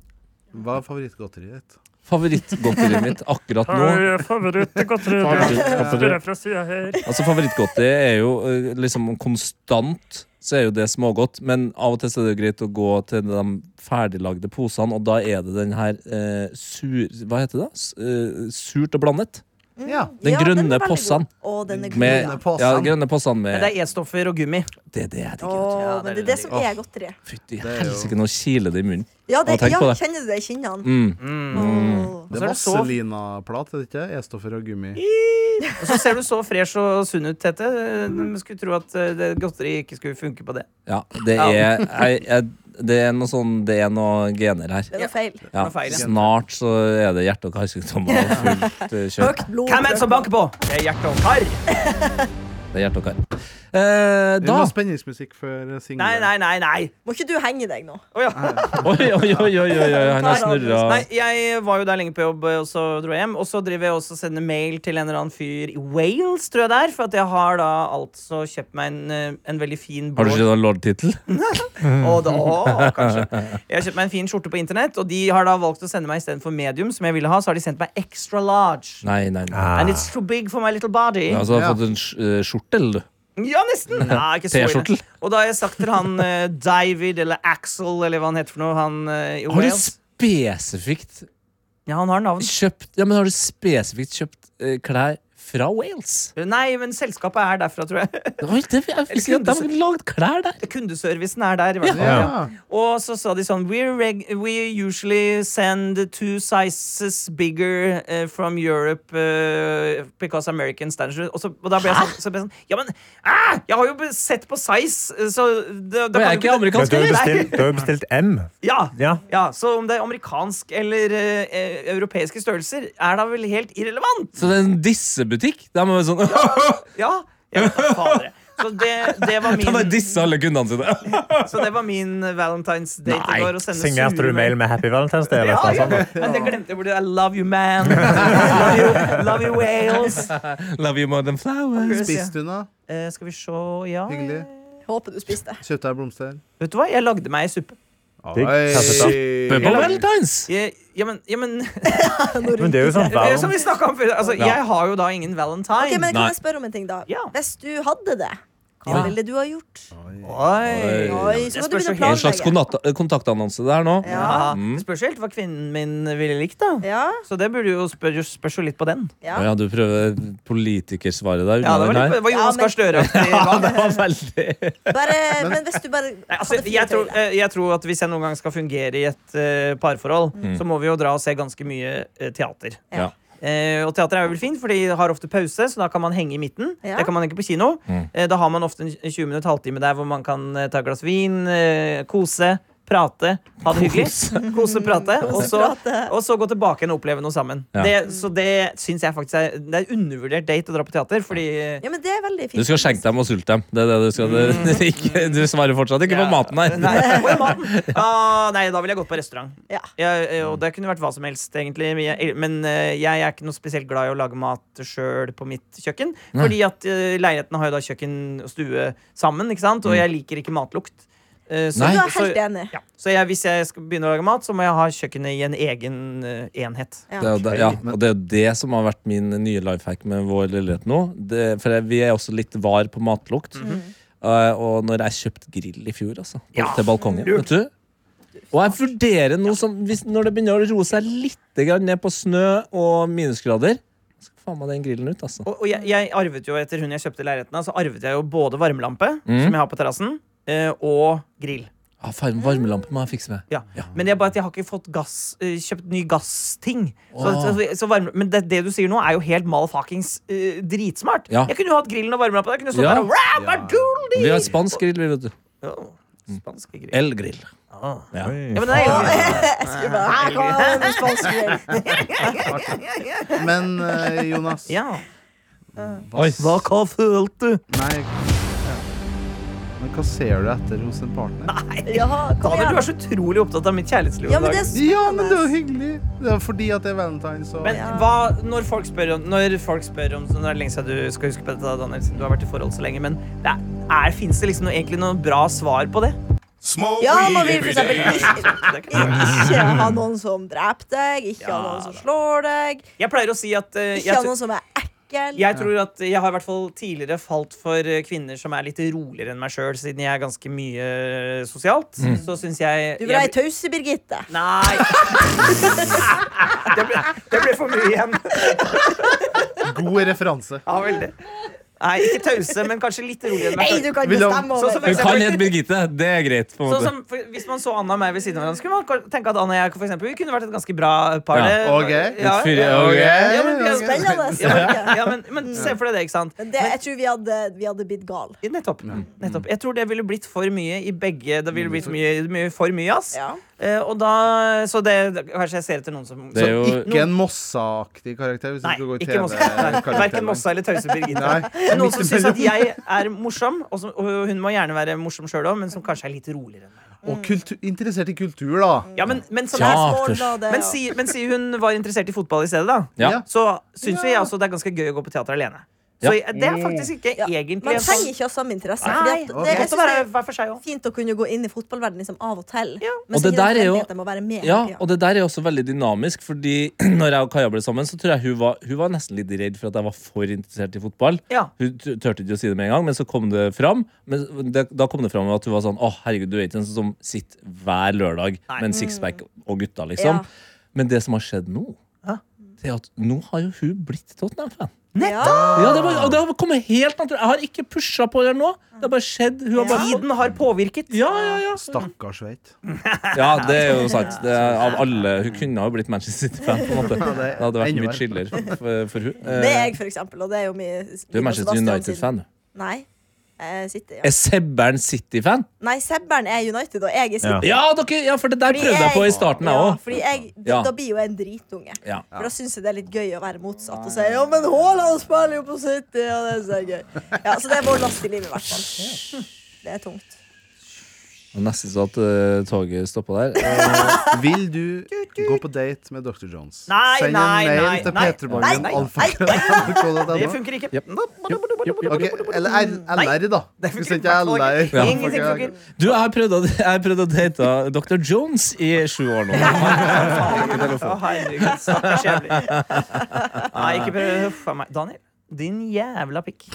[SPEAKER 6] Hva er favorittgodteriet ditt?
[SPEAKER 2] Favorittgodteriet mitt akkurat nå
[SPEAKER 6] Favorittgodteriet.
[SPEAKER 2] Altså Favorittgodteri er jo eh, liksom konstant så er jo det smågodt, men av og til så er det jo greit å gå til de ferdiglagde posene, og da er det den her eh, sur... Hva heter det? da? S- eh, surt og blandet.
[SPEAKER 6] Ja.
[SPEAKER 2] Den
[SPEAKER 4] Ja,
[SPEAKER 2] grønne
[SPEAKER 4] er veldig god.
[SPEAKER 2] possan.
[SPEAKER 4] Å, den er god,
[SPEAKER 2] Med,
[SPEAKER 4] ja.
[SPEAKER 6] posen.
[SPEAKER 2] ja, grønne posene
[SPEAKER 3] Men
[SPEAKER 2] med
[SPEAKER 3] Det er E-stoffer og gummi.
[SPEAKER 2] Det er det jeg digger. vet
[SPEAKER 4] Å, men det er det som er godteriet.
[SPEAKER 2] du. Fytti
[SPEAKER 6] er jo-
[SPEAKER 2] helsike, nå kiler det i munnen.
[SPEAKER 4] Ja,
[SPEAKER 2] Å,
[SPEAKER 4] det,
[SPEAKER 2] tenk
[SPEAKER 4] ja,
[SPEAKER 2] på det.
[SPEAKER 4] kjenner du det i kinnene?
[SPEAKER 2] Mm.
[SPEAKER 4] Åh.
[SPEAKER 6] Det
[SPEAKER 3] Og så er
[SPEAKER 6] er
[SPEAKER 3] det så-
[SPEAKER 6] Vazelina-plat, er det ikke? E-stoffer og gummi.
[SPEAKER 3] Og så ser du så fresh og sunn ut, Tete. Man skulle tro at eh, det godteri ikke skulle funke på det.
[SPEAKER 2] Ja, det
[SPEAKER 3] Ja.
[SPEAKER 2] er, jeg, jeg, det er noe sånn Det er noe gener her.
[SPEAKER 4] Det er noe feil.
[SPEAKER 2] Ja,
[SPEAKER 3] noe feil, ja.
[SPEAKER 2] snart så er det hjerte- og karsykdommer og fullt eh, kjør.
[SPEAKER 4] Høyt blod.
[SPEAKER 3] Hvem er det som banker på? Det er hjerte og kar.
[SPEAKER 2] Det er hjerte og kar. Eh,
[SPEAKER 6] Det
[SPEAKER 2] da
[SPEAKER 6] er noe spenningsmusikk før
[SPEAKER 3] Nei,
[SPEAKER 6] singelen.
[SPEAKER 3] nei, nei. nei.
[SPEAKER 4] Må ikke du henge deg nå?
[SPEAKER 3] Å ja.
[SPEAKER 2] Oi, oi, oi, oi, oi, oi han har snurra.
[SPEAKER 3] Nei, jeg var jo der lenge på jobb, og så dro jeg hjem. Og så driver jeg også og sender mail til en eller annen fyr i Wales, tror jeg det er. For at jeg har da altså kjøpt meg en, eh, en veldig fin
[SPEAKER 2] Har du
[SPEAKER 3] blå
[SPEAKER 2] ikke noen lordtittel?
[SPEAKER 3] Og da, å, kanskje. Jeg har kjøpt meg en fin skjorte på internett, og de har da valgt å sende meg istedenfor medium, som jeg ville ha, så har de sendt meg extra large.
[SPEAKER 2] Nei, nei. nei.
[SPEAKER 5] Ah.
[SPEAKER 3] And it's too big for my little body.
[SPEAKER 2] Altså, du har
[SPEAKER 6] Ja.
[SPEAKER 2] fått en sk- eh, skjortel, du.
[SPEAKER 3] Ja, nesten! Nei, ikke så ille.
[SPEAKER 2] T-skjortel.
[SPEAKER 3] Og da har jeg sagt til han eh, David eller Axel eller hva han heter for noe, han eh, i
[SPEAKER 2] Har du
[SPEAKER 3] Wales
[SPEAKER 2] spesifikt
[SPEAKER 3] Ja, han har navn.
[SPEAKER 2] kjøpt Ja, men har du spesifikt kjøpt eh, klær fra Wales?
[SPEAKER 3] Nei, men selskapet er derfra, tror jeg.
[SPEAKER 2] Oi, det, jeg visste ikke at de hadde lagd klær der.
[SPEAKER 3] Kundeservicen er der. i hvert fall. Ja.
[SPEAKER 6] Ja.
[SPEAKER 3] Og så sa de sånn We, reg we usually send two sizes bigger eh, from Europe eh, because American standard og, så, og da ble jeg sånn, så ble jeg sånn Ja, men ah, jeg har jo be- sett på size, eh, så det,
[SPEAKER 2] Men
[SPEAKER 3] da
[SPEAKER 2] jeg er ikke
[SPEAKER 3] kan jo
[SPEAKER 5] Men
[SPEAKER 2] amerikansk
[SPEAKER 5] du har jo
[SPEAKER 2] heller.
[SPEAKER 5] bestilt, du har jo bestilt M.
[SPEAKER 3] Ja,
[SPEAKER 5] Ja.
[SPEAKER 3] ja, Så om det er amerikansk eller eh, eh, europeiske størrelser, er da vel helt irrelevant?
[SPEAKER 2] Så det er en dissebutikk? De er sånn De
[SPEAKER 3] Ja. Jeg vet da fader. Så det, det var
[SPEAKER 2] bare
[SPEAKER 3] min,
[SPEAKER 2] disser alle kundene sine.
[SPEAKER 3] så det var min Valentine's date i går. å sende
[SPEAKER 5] Signerte
[SPEAKER 3] sure
[SPEAKER 5] du mail med Happy Valentine's Day? Eller
[SPEAKER 3] Ja,
[SPEAKER 5] noe
[SPEAKER 3] ja,
[SPEAKER 5] sånt?
[SPEAKER 3] ja. Men det glemte jeg. hvor det er Love you, man. Love you, love you Wales.
[SPEAKER 2] Love you more than flowers.
[SPEAKER 6] Spiste hun, da?
[SPEAKER 3] Eh, skal vi se, ja
[SPEAKER 6] Hyggelig.
[SPEAKER 4] Håper du spiste.
[SPEAKER 6] Kjøpte jeg blomster?
[SPEAKER 3] Vet du hva, jeg lagde meg ei suppe.
[SPEAKER 5] Digg.
[SPEAKER 6] Oi.
[SPEAKER 2] Suppe på valentines!
[SPEAKER 3] Jeg, ja, men, ja, men
[SPEAKER 5] Men det er jo sånn
[SPEAKER 3] eh, Som
[SPEAKER 5] varm
[SPEAKER 3] vi snakket om før, altså, jeg har jo da ingen valentine.
[SPEAKER 4] Ok, men Kan
[SPEAKER 2] Nei.
[SPEAKER 4] jeg spørre om en ting, da?
[SPEAKER 3] Ja.
[SPEAKER 4] Hvis du hadde det, hva
[SPEAKER 2] Ja.
[SPEAKER 4] ville du ha gjort?
[SPEAKER 3] Oi.
[SPEAKER 4] Oi,
[SPEAKER 3] det
[SPEAKER 4] så må
[SPEAKER 3] spørs jo
[SPEAKER 4] du begynne å
[SPEAKER 3] helt-
[SPEAKER 2] En slags
[SPEAKER 4] planlegge.
[SPEAKER 2] konat- kontaktannonse der nå.
[SPEAKER 3] Ja,
[SPEAKER 4] Ja.
[SPEAKER 5] Mm.
[SPEAKER 3] det spørs jo helt hva kvinnen min ville likt, da.
[SPEAKER 4] Ja,
[SPEAKER 3] Så det burde jo spør, spørs jo litt på den.
[SPEAKER 4] ja.
[SPEAKER 2] Å ja, du prøver politikersvaret der.
[SPEAKER 3] Ja, det var, litt, det var
[SPEAKER 4] Ja,
[SPEAKER 3] Jonas
[SPEAKER 4] men-
[SPEAKER 3] Gahr Støre-aktig.
[SPEAKER 2] Ja, det var veldig
[SPEAKER 4] Bare, men hvis du bare
[SPEAKER 3] Nei, altså,
[SPEAKER 4] hadde fire
[SPEAKER 3] jeg, tror,
[SPEAKER 4] tøyler.
[SPEAKER 3] eh, jeg tror at hvis jeg noen gang skal fungere i et eh, parforhold, så må vi jo dra og se ganske mye eh, teater.
[SPEAKER 2] Ja.
[SPEAKER 3] Eh, og teater er jo vel fint, for de har ofte pause, så da kan man henge i midten.
[SPEAKER 4] Ja.
[SPEAKER 3] Det kan man ikke på kino. Eh, da har man ofte en 20 minutt halvtime der hvor man kan eh, ta et glass vin, eh, kose, prate, ha det hyggelig. Kose, prate, og så,
[SPEAKER 4] prate.
[SPEAKER 3] og så gå tilbake igjen og oppleve noe sammen.
[SPEAKER 2] Ja.
[SPEAKER 3] Det, så det syns jeg faktisk er Det er en undervurdert date å dra på teater, fordi eh,
[SPEAKER 4] Ja, men det er veldig fint.
[SPEAKER 2] Du skal skjenke dem og sulte dem. Det er det du skal. Det, det, ikke, du svarer fortsatt ikke på
[SPEAKER 3] Mm. Ja.
[SPEAKER 2] maten
[SPEAKER 3] Nei,
[SPEAKER 2] her.
[SPEAKER 3] hvor er maten? Ah, nei, da ville jeg gått på restaurant.
[SPEAKER 4] Ja.
[SPEAKER 3] Jeg, eh, og det kunne vært hva som helst, egentlig. Men jeg, men eh, jeg er ikke noe spesielt glad i å lage mat sjøl på mitt kjøkken. Fordi at eh, leiligheten har jo da kjøkken og stue sammen, ikke sant? og jeg liker ikke matlukt. Eh, så,
[SPEAKER 2] Mm. Nei. Du
[SPEAKER 4] Du er helt
[SPEAKER 3] så,
[SPEAKER 4] enig.
[SPEAKER 3] ja. så jeg, hvis jeg skal begynne å lage mat, så må jeg ha kjøkkenet i en egen eh, enhet.
[SPEAKER 4] Ja.
[SPEAKER 2] Det er, jo det, ja, og det er jo det som har vært min nye life hack med vår leilighet nå. Det, for jeg, vi er også litt var på matlukt.
[SPEAKER 3] Mhm.
[SPEAKER 2] Eh, og når jeg kjøpte grill i fjor, altså, på,
[SPEAKER 3] Ja.
[SPEAKER 2] til balkongen vet du? Og jeg vurderer nå som hvis, Når det begynner å roe seg litt grann ned på snø og minusgrader, så skal faen meg den grillen ut, altså.
[SPEAKER 3] Og, og jeg, jeg arvet jo etter hun
[SPEAKER 2] Mm.
[SPEAKER 3] jeg kjøpte leiligheten av, så arvet jeg jo både varmelampe, som jeg har på terrassen, eh, og grill.
[SPEAKER 2] ah, faen, varmelampe må jeg fikse med.
[SPEAKER 3] Ja. Men det er bare at jeg har ikke fått gass, eh, kjøpt ny gassting. Så,
[SPEAKER 2] Åh.
[SPEAKER 3] så, så varme, men det, det du sier nå, er jo helt malfuckings eh, dritsmart.
[SPEAKER 2] Ja.
[SPEAKER 3] Jeg kunne jo hatt grillen og varmelampa. Jeg kunne stått
[SPEAKER 2] Ja.
[SPEAKER 3] der og rap,
[SPEAKER 6] Ja.
[SPEAKER 2] Vi har spansk grill, vi, vet du.
[SPEAKER 3] Spanske grill.
[SPEAKER 2] El-grill.
[SPEAKER 3] Ah.
[SPEAKER 2] Ja.
[SPEAKER 3] Ja, men det er elgrill.
[SPEAKER 4] Jeg skulle bare Her kommer den spanske gjengen.
[SPEAKER 6] Men eh, Jonas
[SPEAKER 3] Ja.
[SPEAKER 2] Oi.
[SPEAKER 3] Hva, hva følte du?
[SPEAKER 6] Nei ja. Men hva ser du etter hos en partner?
[SPEAKER 4] Jaha, kom
[SPEAKER 3] Daniel, du er
[SPEAKER 4] igjen.
[SPEAKER 3] så utrolig opptatt av mitt kjærlighetsliv.
[SPEAKER 4] Ja,
[SPEAKER 3] i dag.
[SPEAKER 4] men det er så
[SPEAKER 6] Ja, men det er jo
[SPEAKER 4] spennende.
[SPEAKER 6] hyggelig. Det er fordi at det er valentines og
[SPEAKER 3] Men
[SPEAKER 4] Ja.
[SPEAKER 3] hva, når folk spør om Når folk spør om så Det er lenge siden du skal huske på dette, Daniel, siden du har vært i forhold så lenge, men det er, er, fins det liksom noe, egentlig noe bra svar på det?
[SPEAKER 4] Ja, man vil for eksempel ikke,
[SPEAKER 3] Det kan være.
[SPEAKER 4] ikke ha noen som dreper deg, ikke ha
[SPEAKER 3] Ja,
[SPEAKER 4] noen som slår deg,
[SPEAKER 3] Jeg pleier å si at eh,
[SPEAKER 4] ikke
[SPEAKER 3] jeg,
[SPEAKER 4] ha
[SPEAKER 3] tr-
[SPEAKER 4] noen som er ekkel.
[SPEAKER 3] jeg tror at jeg har i hvert fall tidligere falt for eh, kvinner som er litt roligere enn meg sjøl, siden jeg er ganske mye eh, sosialt. Så syns jeg,
[SPEAKER 4] Du vil ha ei
[SPEAKER 3] jeg
[SPEAKER 4] tause Birgitte.
[SPEAKER 3] Nei! det, ble, det ble for mye igjen.
[SPEAKER 6] god referanse.
[SPEAKER 3] Ja, veldig. Nei, ikke tause, men kanskje litt roligere enn meg
[SPEAKER 4] Nei,
[SPEAKER 3] sjøl.
[SPEAKER 4] du kan
[SPEAKER 6] Vil
[SPEAKER 4] ikke
[SPEAKER 6] du-
[SPEAKER 4] bestemme
[SPEAKER 3] Sånn som
[SPEAKER 4] over
[SPEAKER 2] Hun kan hete Birgitte. Det er greit. på en
[SPEAKER 3] Sånn
[SPEAKER 2] måte
[SPEAKER 3] som, for, hvis man så Anna og meg ved siden av hverandre, skulle man kan- tenke at Anna og jeg for eksempel, vi kunne vært et ganske bra par.
[SPEAKER 2] Ja.
[SPEAKER 3] det-
[SPEAKER 6] Ok.
[SPEAKER 3] Ja,
[SPEAKER 2] Fyr-
[SPEAKER 3] ja,
[SPEAKER 2] ok.
[SPEAKER 3] Ja, men vi er-
[SPEAKER 4] Spennende.
[SPEAKER 3] ja, men, ja, men, men se for deg det, ikke sant?
[SPEAKER 4] Men det, jeg tror vi hadde, vi hadde blitt gal.
[SPEAKER 3] Nettopp. Nettopp. Jeg tror det ville blitt for mye i begge. Det ville blitt mye, mye, for mye, ass.
[SPEAKER 4] Ja.
[SPEAKER 3] Eh, og da, så det, det- kanskje jeg ser etter noen som
[SPEAKER 2] Det er jo-
[SPEAKER 6] Ikke en Mossa-aktig karakter. Hvis
[SPEAKER 3] Nei,
[SPEAKER 6] du skal gå i
[SPEAKER 3] ikke Mossa. Nei, Verken Mossa eller Tause Birgitte.
[SPEAKER 6] Nei,
[SPEAKER 3] Men noen som
[SPEAKER 6] midt
[SPEAKER 3] syns
[SPEAKER 6] imellom.
[SPEAKER 3] at jeg er morsom, og, som, og hun må gjerne være morsom sjøl òg, men som kanskje er litt roligere enn meg.
[SPEAKER 6] Og kultu- interessert i kultur, da.
[SPEAKER 3] Ja, men, men, sånn,
[SPEAKER 2] Ja.
[SPEAKER 3] men, si, men si hun var interessert i fotball i stedet, da.
[SPEAKER 2] Ja.
[SPEAKER 3] Så syns jo jeg også det er ganske gøy å gå på teater alene.
[SPEAKER 2] Ja.
[SPEAKER 3] Så jeg- det er faktisk ikke
[SPEAKER 4] Ja.
[SPEAKER 3] egentlig
[SPEAKER 4] Man
[SPEAKER 3] en sånn-
[SPEAKER 4] trenger ikke ha samme interesse.
[SPEAKER 3] Nei,
[SPEAKER 4] fordi at
[SPEAKER 3] det
[SPEAKER 4] det,
[SPEAKER 3] er godt å
[SPEAKER 4] jeg synes det
[SPEAKER 3] være
[SPEAKER 4] er
[SPEAKER 3] hver for seg òg.
[SPEAKER 4] fint å kunne gå inn i fotballverdenen liksom, av og til.
[SPEAKER 3] Ja.
[SPEAKER 4] Men
[SPEAKER 2] Og
[SPEAKER 4] så
[SPEAKER 2] det der er jo-
[SPEAKER 4] nødvendig at jeg må være med.
[SPEAKER 2] Ja,
[SPEAKER 4] hele tiden.
[SPEAKER 2] og det der er også veldig dynamisk, fordi når jeg og Kaja ble sammen, så tror jeg hun var, hun var nesten litt redd for at jeg var for interessert i fotball.
[SPEAKER 3] Ja.
[SPEAKER 2] Hun t- turte ikke å si det med en gang, men så kom det fram. Men det, da kom det fram at hun var sånn Å, herregud, du er ikke en sånn som sitter hver lørdag
[SPEAKER 3] Nei.
[SPEAKER 2] med en sixpack og gutta, liksom.
[SPEAKER 4] Ja.
[SPEAKER 2] Men det som har skjedd nå,
[SPEAKER 3] Hæ?
[SPEAKER 2] det er at nå har jo hun blitt Tottenham-fan.
[SPEAKER 4] Ja.
[SPEAKER 2] Ja, det, var, og det har kommet helt naturlig. Jeg har ikke pusha på det nå. Det har bare skjedd. Hun har bare
[SPEAKER 3] Tiden har påvirket.
[SPEAKER 2] ja, ja, ja.
[SPEAKER 6] Stakkars Sveit.
[SPEAKER 2] ja, det er jo sant. Det er, av alle Hun kunne ha jo blitt Manchester City-fan, på en måte.
[SPEAKER 6] Ja,
[SPEAKER 2] Det hadde vært
[SPEAKER 6] enda
[SPEAKER 2] mye
[SPEAKER 6] verre.
[SPEAKER 2] chiller for, for hun.
[SPEAKER 4] Det er
[SPEAKER 2] Eh,
[SPEAKER 4] jeg, for eksempel. Og det er jo mye
[SPEAKER 2] Du er Manchester United-fan. du.
[SPEAKER 4] Nei. Jeg sitter, ja.
[SPEAKER 2] Er Sebbern City-fan?
[SPEAKER 4] Nei, Sebbern er United, og jeg er City.
[SPEAKER 5] Ja.
[SPEAKER 2] Ja, dere, ja, for det der
[SPEAKER 4] Fordi
[SPEAKER 2] prøvde jeg på i starten, jeg
[SPEAKER 4] ja,
[SPEAKER 2] òg.
[SPEAKER 4] Fordi jeg,
[SPEAKER 2] Ja.
[SPEAKER 4] Da blir jo jeg en dritunge.
[SPEAKER 2] Ja.
[SPEAKER 4] For da syns jeg det er litt gøy å være motsatt og si ja, men Haaland spiller jo på City, og det er så gøy. Ja, Så det er vår last i livet, i hvert fall. Det er tungt.
[SPEAKER 2] Det var Nesten så at eh, toget stoppa der. Eh,
[SPEAKER 6] Vil du gå på date med Dr. Jones?
[SPEAKER 3] Nei,
[SPEAKER 6] Send en
[SPEAKER 3] nei,
[SPEAKER 6] mail
[SPEAKER 3] nei,
[SPEAKER 6] til
[SPEAKER 3] nei.
[SPEAKER 6] P3-bangen
[SPEAKER 4] Nei, nei.
[SPEAKER 3] Det
[SPEAKER 6] alfakrøll.nrk.no.
[SPEAKER 3] funker ikke.
[SPEAKER 2] Yep.
[SPEAKER 6] Ok, eller R- LR, da.
[SPEAKER 3] Det funker
[SPEAKER 6] Hvis ikke er
[SPEAKER 3] i hvert
[SPEAKER 6] LR.
[SPEAKER 3] fall ikke. Ingenting funker.
[SPEAKER 2] Du, jeg har prøvd å, jeg har prøvd å date Dr. Jones i sju år nå.
[SPEAKER 3] Å, herregud, stakkars jævlig. Nei, ikke prøv huff a meg. Daniel, din jævla pikk.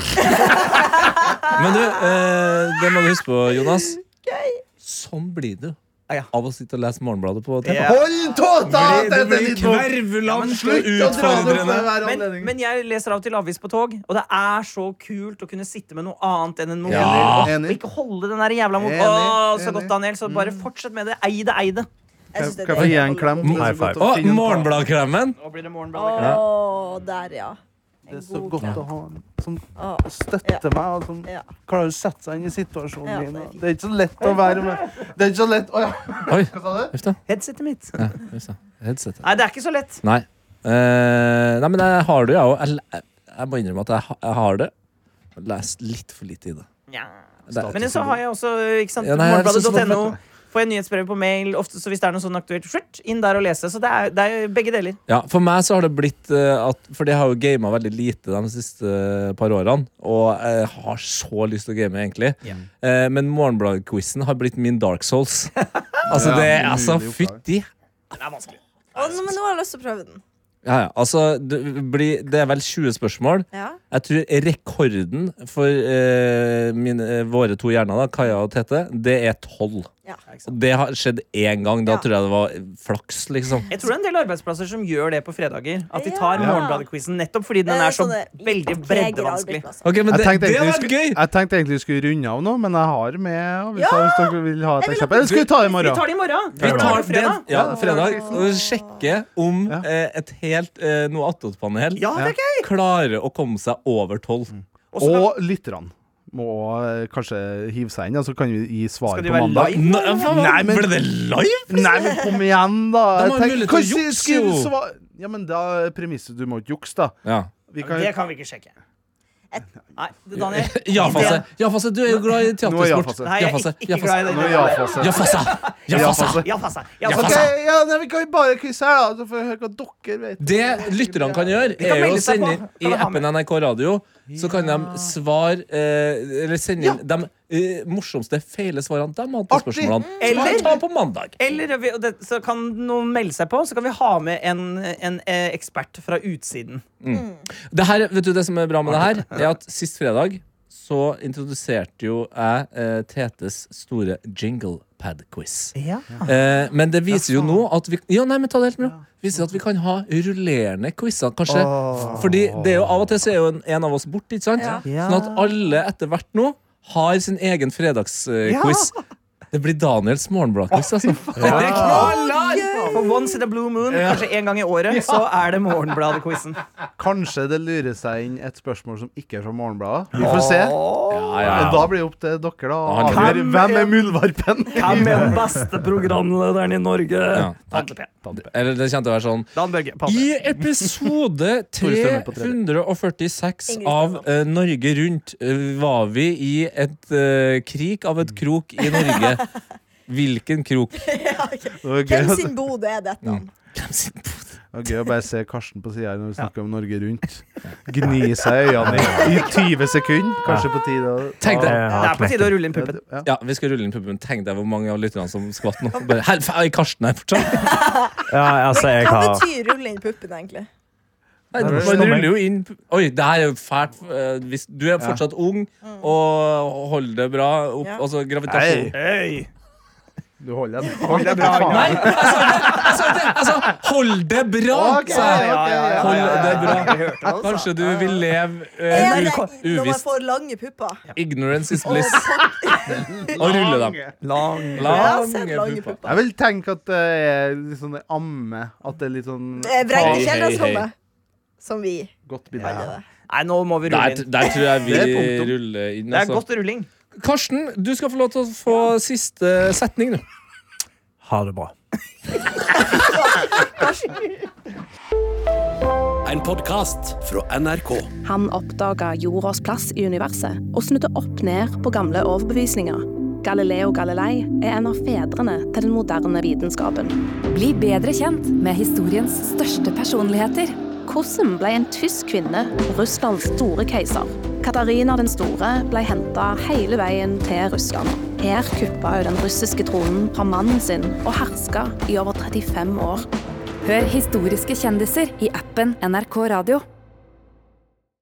[SPEAKER 2] Men du, eh, det må du huske på, Jonas. Sånn blir du
[SPEAKER 4] Ah,
[SPEAKER 3] Ja.
[SPEAKER 2] av å sitte og lese Morgenbladet på TV.
[SPEAKER 3] Ja.
[SPEAKER 6] Hold tåta! Dette er litt vondt.
[SPEAKER 2] kvervulansk
[SPEAKER 6] Slutt å dra det opp ved hver
[SPEAKER 3] Men,
[SPEAKER 6] anledning.
[SPEAKER 3] men jeg leser av og til avis på tog, og det er så kult å kunne sitte med noe annet enn en mobil.
[SPEAKER 2] Ja.
[SPEAKER 3] Og
[SPEAKER 6] Enig.
[SPEAKER 3] ikke holde den der jævla mot...
[SPEAKER 6] Enig,
[SPEAKER 3] Å, så
[SPEAKER 6] enig. Mm.
[SPEAKER 3] godt, Daniel. Så bare fortsett med det. Ei det, ei det.
[SPEAKER 4] Jeg synes det
[SPEAKER 6] Kan jeg få gi en klem?
[SPEAKER 5] Mm. High five.
[SPEAKER 2] Og morgenbladklemmen!
[SPEAKER 3] Nå blir det
[SPEAKER 4] Å,
[SPEAKER 3] morgenbladet.
[SPEAKER 4] der, ja. En
[SPEAKER 6] Det er så
[SPEAKER 4] god
[SPEAKER 6] godt
[SPEAKER 4] klem.
[SPEAKER 6] å ha en sånn som
[SPEAKER 4] Å,
[SPEAKER 6] støtter meg, og som
[SPEAKER 4] Ja.
[SPEAKER 6] klarer å sette seg inn i situasjonen
[SPEAKER 4] Ja, det er
[SPEAKER 6] min. og
[SPEAKER 4] fint.
[SPEAKER 6] Det er ikke så lett å være med. Det er ikke så lett Å ja,
[SPEAKER 2] Oi,
[SPEAKER 6] hva sa du?
[SPEAKER 2] huff da.
[SPEAKER 3] Headsetet mitt.
[SPEAKER 2] Ja, huff da. Headsetet.
[SPEAKER 3] Nei, det er ikke så lett.
[SPEAKER 2] Nei. Eh, nei, men jeg har det, jo, jeg òg. Jeg, jeg må innrømme at jeg, ha- jeg har det. Jeg har Lest litt for lite i det.
[SPEAKER 3] Nja.
[SPEAKER 2] det er-
[SPEAKER 3] Men så har jeg også ikke sant,
[SPEAKER 2] Ja, nei, jeg synes det var
[SPEAKER 3] morgenbladet.no. Får jeg nyhetsbrev på mail, ofte så hvis det er noe sånn aktuelt. skjørt, Inn der og lese. Så det er, det er begge deler.
[SPEAKER 2] Ja, For meg så har det blitt eh, at Fordi jeg har jo gama veldig lite de siste eh, par årene. Og jeg har så lyst til å game, egentlig. Eh, men Morgenbladquizen har blitt min Dark Souls. altså,
[SPEAKER 6] Ja,
[SPEAKER 2] det er altså
[SPEAKER 6] umulig oppgave.
[SPEAKER 2] Fytti
[SPEAKER 3] Det er vanskelig.
[SPEAKER 4] nå- men nå har jeg lyst til å prøve den.
[SPEAKER 2] Ja, ja. Altså, det, blir, det er vel 20 spørsmål.
[SPEAKER 4] Ja.
[SPEAKER 2] Jeg tror rekorden for eh, mine, eh, våre to hjerner, da, Kaja og Tete, det er 12.
[SPEAKER 4] Ja.
[SPEAKER 3] ikke sant?
[SPEAKER 2] Og det har skjedd én gang. Da
[SPEAKER 4] Ja.
[SPEAKER 2] tror jeg det var flaks, liksom.
[SPEAKER 3] Jeg tror det er en del arbeidsplasser som gjør det på fredager. At de
[SPEAKER 4] Ja.
[SPEAKER 3] tar Morgenbladet-quizen nettopp fordi den
[SPEAKER 4] Det
[SPEAKER 3] er så
[SPEAKER 4] Eh, sånne
[SPEAKER 3] veldig
[SPEAKER 4] litt tregere
[SPEAKER 3] breddevanskelig.
[SPEAKER 4] arbeidsplasser.
[SPEAKER 2] Ok, men
[SPEAKER 6] Jeg
[SPEAKER 2] Det,
[SPEAKER 6] tenkte,
[SPEAKER 2] det
[SPEAKER 6] egentlig
[SPEAKER 2] hadde
[SPEAKER 6] vi
[SPEAKER 2] vært gøy!
[SPEAKER 6] skulle, jeg tenkte egentlig vi skulle runde av nå, men jeg har med og vi tar, Hvis dere vil ha et
[SPEAKER 4] Jeg vil
[SPEAKER 6] eksempel.
[SPEAKER 4] at-
[SPEAKER 6] Eller skal vi ta det i
[SPEAKER 3] Vi
[SPEAKER 6] morgen?
[SPEAKER 3] tar det i morgen. Vi
[SPEAKER 2] Vi
[SPEAKER 3] tar
[SPEAKER 2] tar
[SPEAKER 3] det
[SPEAKER 2] den
[SPEAKER 3] fredag.
[SPEAKER 2] ja,
[SPEAKER 6] Ja.
[SPEAKER 2] fredag og sjekke om
[SPEAKER 6] Ja.
[SPEAKER 2] eh, et helt eh, noe attåtpanel
[SPEAKER 3] Ja, det er gøy.
[SPEAKER 2] klarer å komme seg over tolv.
[SPEAKER 6] Mm.
[SPEAKER 3] Og så
[SPEAKER 6] Og lytterne må eh, kanskje hive seg inn, og så kan vi gi svar
[SPEAKER 3] skal de
[SPEAKER 6] på
[SPEAKER 3] være
[SPEAKER 6] mandag.
[SPEAKER 3] live.
[SPEAKER 2] Nei,
[SPEAKER 6] Nei, men-
[SPEAKER 2] Ble det live?
[SPEAKER 6] Nei, men kom igjen, da!
[SPEAKER 2] Da
[SPEAKER 6] Jeg
[SPEAKER 2] må vi
[SPEAKER 6] tenker-
[SPEAKER 2] mulighet til å
[SPEAKER 6] Kanskje
[SPEAKER 2] jukse,
[SPEAKER 6] skriv
[SPEAKER 2] jo.
[SPEAKER 6] svar- Ja, men da er premisset du må ikke jukse, da.
[SPEAKER 2] Ja.
[SPEAKER 6] Vi kan,
[SPEAKER 3] Det kan vi ikke sjekke. Nei, det, Daniel.
[SPEAKER 2] Ja-fase. Ja-fase, du er jo glad i
[SPEAKER 6] Nå er
[SPEAKER 2] teatersport.
[SPEAKER 6] ja-fase.
[SPEAKER 3] Nei, jeg er
[SPEAKER 2] Ja-fase.
[SPEAKER 3] ikke glad i
[SPEAKER 6] Nå er
[SPEAKER 3] det.
[SPEAKER 6] ja-fase.
[SPEAKER 2] Ja-fase. Ja-fase.
[SPEAKER 6] Ja-fase.
[SPEAKER 3] Ja-fase.
[SPEAKER 6] Ok,
[SPEAKER 3] Ja-fase.
[SPEAKER 6] ja, nei, vi kan jo bare krysse her, da, så får vi høre hva dere vet.
[SPEAKER 2] Det lytterne kan gjøre,
[SPEAKER 3] kan
[SPEAKER 2] er jo
[SPEAKER 3] melde
[SPEAKER 2] å
[SPEAKER 3] seg
[SPEAKER 2] sende
[SPEAKER 3] på.
[SPEAKER 2] inn
[SPEAKER 3] Kan
[SPEAKER 2] i
[SPEAKER 3] vi ha
[SPEAKER 2] appen
[SPEAKER 3] med?
[SPEAKER 2] NRK Radio. Så kan de svare eh, Eller sende inn de eh, morsomste feile svarene de hadde på
[SPEAKER 6] Artig.
[SPEAKER 2] spørsmålene. Så kan
[SPEAKER 3] Eller-
[SPEAKER 2] vi ta på mandag.
[SPEAKER 3] Eller vi- og det, så kan noen melde seg på, så kan vi ha med en, en eh, ekspert fra utsiden.
[SPEAKER 2] Det, her, vet du, det som er bra med det her, er at sist fredag så introduserte jo jeg eh, Tetes store jinglepad-quiz.
[SPEAKER 3] Ja.
[SPEAKER 2] Eh, men det viser jo nå at vi, ja, nei, men ta det helt med ro. Viser at vi kan ha rullerende quizer. Kanskje, Fordi det er jo av og til så er jo en, en av oss borte, ikke sant?
[SPEAKER 4] Ja.
[SPEAKER 3] Ja.
[SPEAKER 2] Sånn at alle etter hvert nå har sin egen fredagsquiz. Det blir Daniels morgenbladquiz, altså.
[SPEAKER 3] Ah. For once in a blue moon, kanskje en gang i året, så er det Morgenbladet-quizen.
[SPEAKER 6] Kanskje det lurer seg inn et spørsmål som ikke er fra Morgenbladet. Vi får se.
[SPEAKER 2] Ja, ja,
[SPEAKER 6] Men
[SPEAKER 2] ja.
[SPEAKER 6] da blir det opp til dere, da. å
[SPEAKER 2] Ja,
[SPEAKER 3] han-
[SPEAKER 6] avgjøre Hvem er muldvarpen?
[SPEAKER 3] Hvem er den beste programlederen i Norge?
[SPEAKER 2] Ja.
[SPEAKER 3] Tante P. Tante P.
[SPEAKER 2] Eller det kjente å være sånn
[SPEAKER 3] Dan Børge. Palle.
[SPEAKER 2] I episode
[SPEAKER 6] Tore Strømmen på tredje.
[SPEAKER 2] 346
[SPEAKER 4] Ingrid
[SPEAKER 2] av
[SPEAKER 4] Strømmen.
[SPEAKER 2] eh, Norge Rundt eh, var vi i et eh, krik av et krok i Norge. Hvilken krok?
[SPEAKER 6] Det var gøy,
[SPEAKER 4] Hvem
[SPEAKER 6] at-
[SPEAKER 4] sin bod er dette?
[SPEAKER 2] Hvem sitt
[SPEAKER 6] det var gøy å bare se Karsten på sida her når vi snakker om Norge Rundt. Gni seg i øynene i, i 20 sekunder. Kanskje på tide å
[SPEAKER 2] Tenk deg
[SPEAKER 3] Det er på tide å rulle inn puppen.
[SPEAKER 6] Ja.
[SPEAKER 2] ja, vi skal rulle inn puppen. Tenk deg hvor mange av lytterne som skvatt nå. Bare, her, er Karsten her fortsatt?
[SPEAKER 5] Ja, altså, jeg
[SPEAKER 4] Hva
[SPEAKER 5] har
[SPEAKER 4] betyr rulle inn puppen, egentlig?
[SPEAKER 2] Nei, du bare ruller jo inn pu- Oi, det her er jo fælt. eh, Hvis du er fortsatt ung og holder det bra opp,
[SPEAKER 4] Mm. Ja.
[SPEAKER 2] altså gravitasjon
[SPEAKER 3] Hey.
[SPEAKER 6] Du holder den.
[SPEAKER 2] Nei, jeg sa det! Jeg sa Altså, det! Jeg sa hold det bra!
[SPEAKER 6] Ok,
[SPEAKER 2] sa jeg.
[SPEAKER 6] ok, ja,
[SPEAKER 2] Hold
[SPEAKER 6] ja,
[SPEAKER 2] det
[SPEAKER 6] ja.
[SPEAKER 2] bra. Kanskje du vil leve eh,
[SPEAKER 4] Er det
[SPEAKER 2] u-
[SPEAKER 4] når man
[SPEAKER 2] uvisst.
[SPEAKER 4] får lange pupper?
[SPEAKER 2] Ignorance is bliss. Og rulle dem.
[SPEAKER 3] Lang
[SPEAKER 4] Jeg har sett lange
[SPEAKER 2] Lange pupper.
[SPEAKER 4] pupper.
[SPEAKER 6] Jeg vil tenke at det er litt sånn amme. At det er litt sånn
[SPEAKER 4] Det er
[SPEAKER 2] Hei, hei,
[SPEAKER 4] Vrengte
[SPEAKER 2] hei.
[SPEAKER 4] Eh, kjellersrommet, som vi
[SPEAKER 6] godt bilde.
[SPEAKER 4] kaller det.
[SPEAKER 3] Nei, nå må vi rulle
[SPEAKER 2] Der,
[SPEAKER 3] inn.
[SPEAKER 2] der tror jeg
[SPEAKER 6] Det er punktum.
[SPEAKER 2] vi ruller inn.
[SPEAKER 3] Det er
[SPEAKER 2] Altså.
[SPEAKER 3] godt rulling.
[SPEAKER 2] Karsten, du skal få lov til å få siste setning, du.
[SPEAKER 5] Ha det bra.
[SPEAKER 1] En podkast fra NRK.
[SPEAKER 7] Han oppdaga jordas plass i universet og snudde opp ned på gamle overbevisninger. Galileo Galilei er en av fedrene til den moderne vitenskapen.
[SPEAKER 8] Bli bedre kjent med historiens største personligheter
[SPEAKER 7] Hvordan ble en tysk kvinne Russlands store keiser? Katarina den store ble henta hele veien til Russland. Her kuppa hun den russiske tronen fra mannen sin og herska i over 35 år.
[SPEAKER 8] Hør historiske kjendiser i appen NRK Radio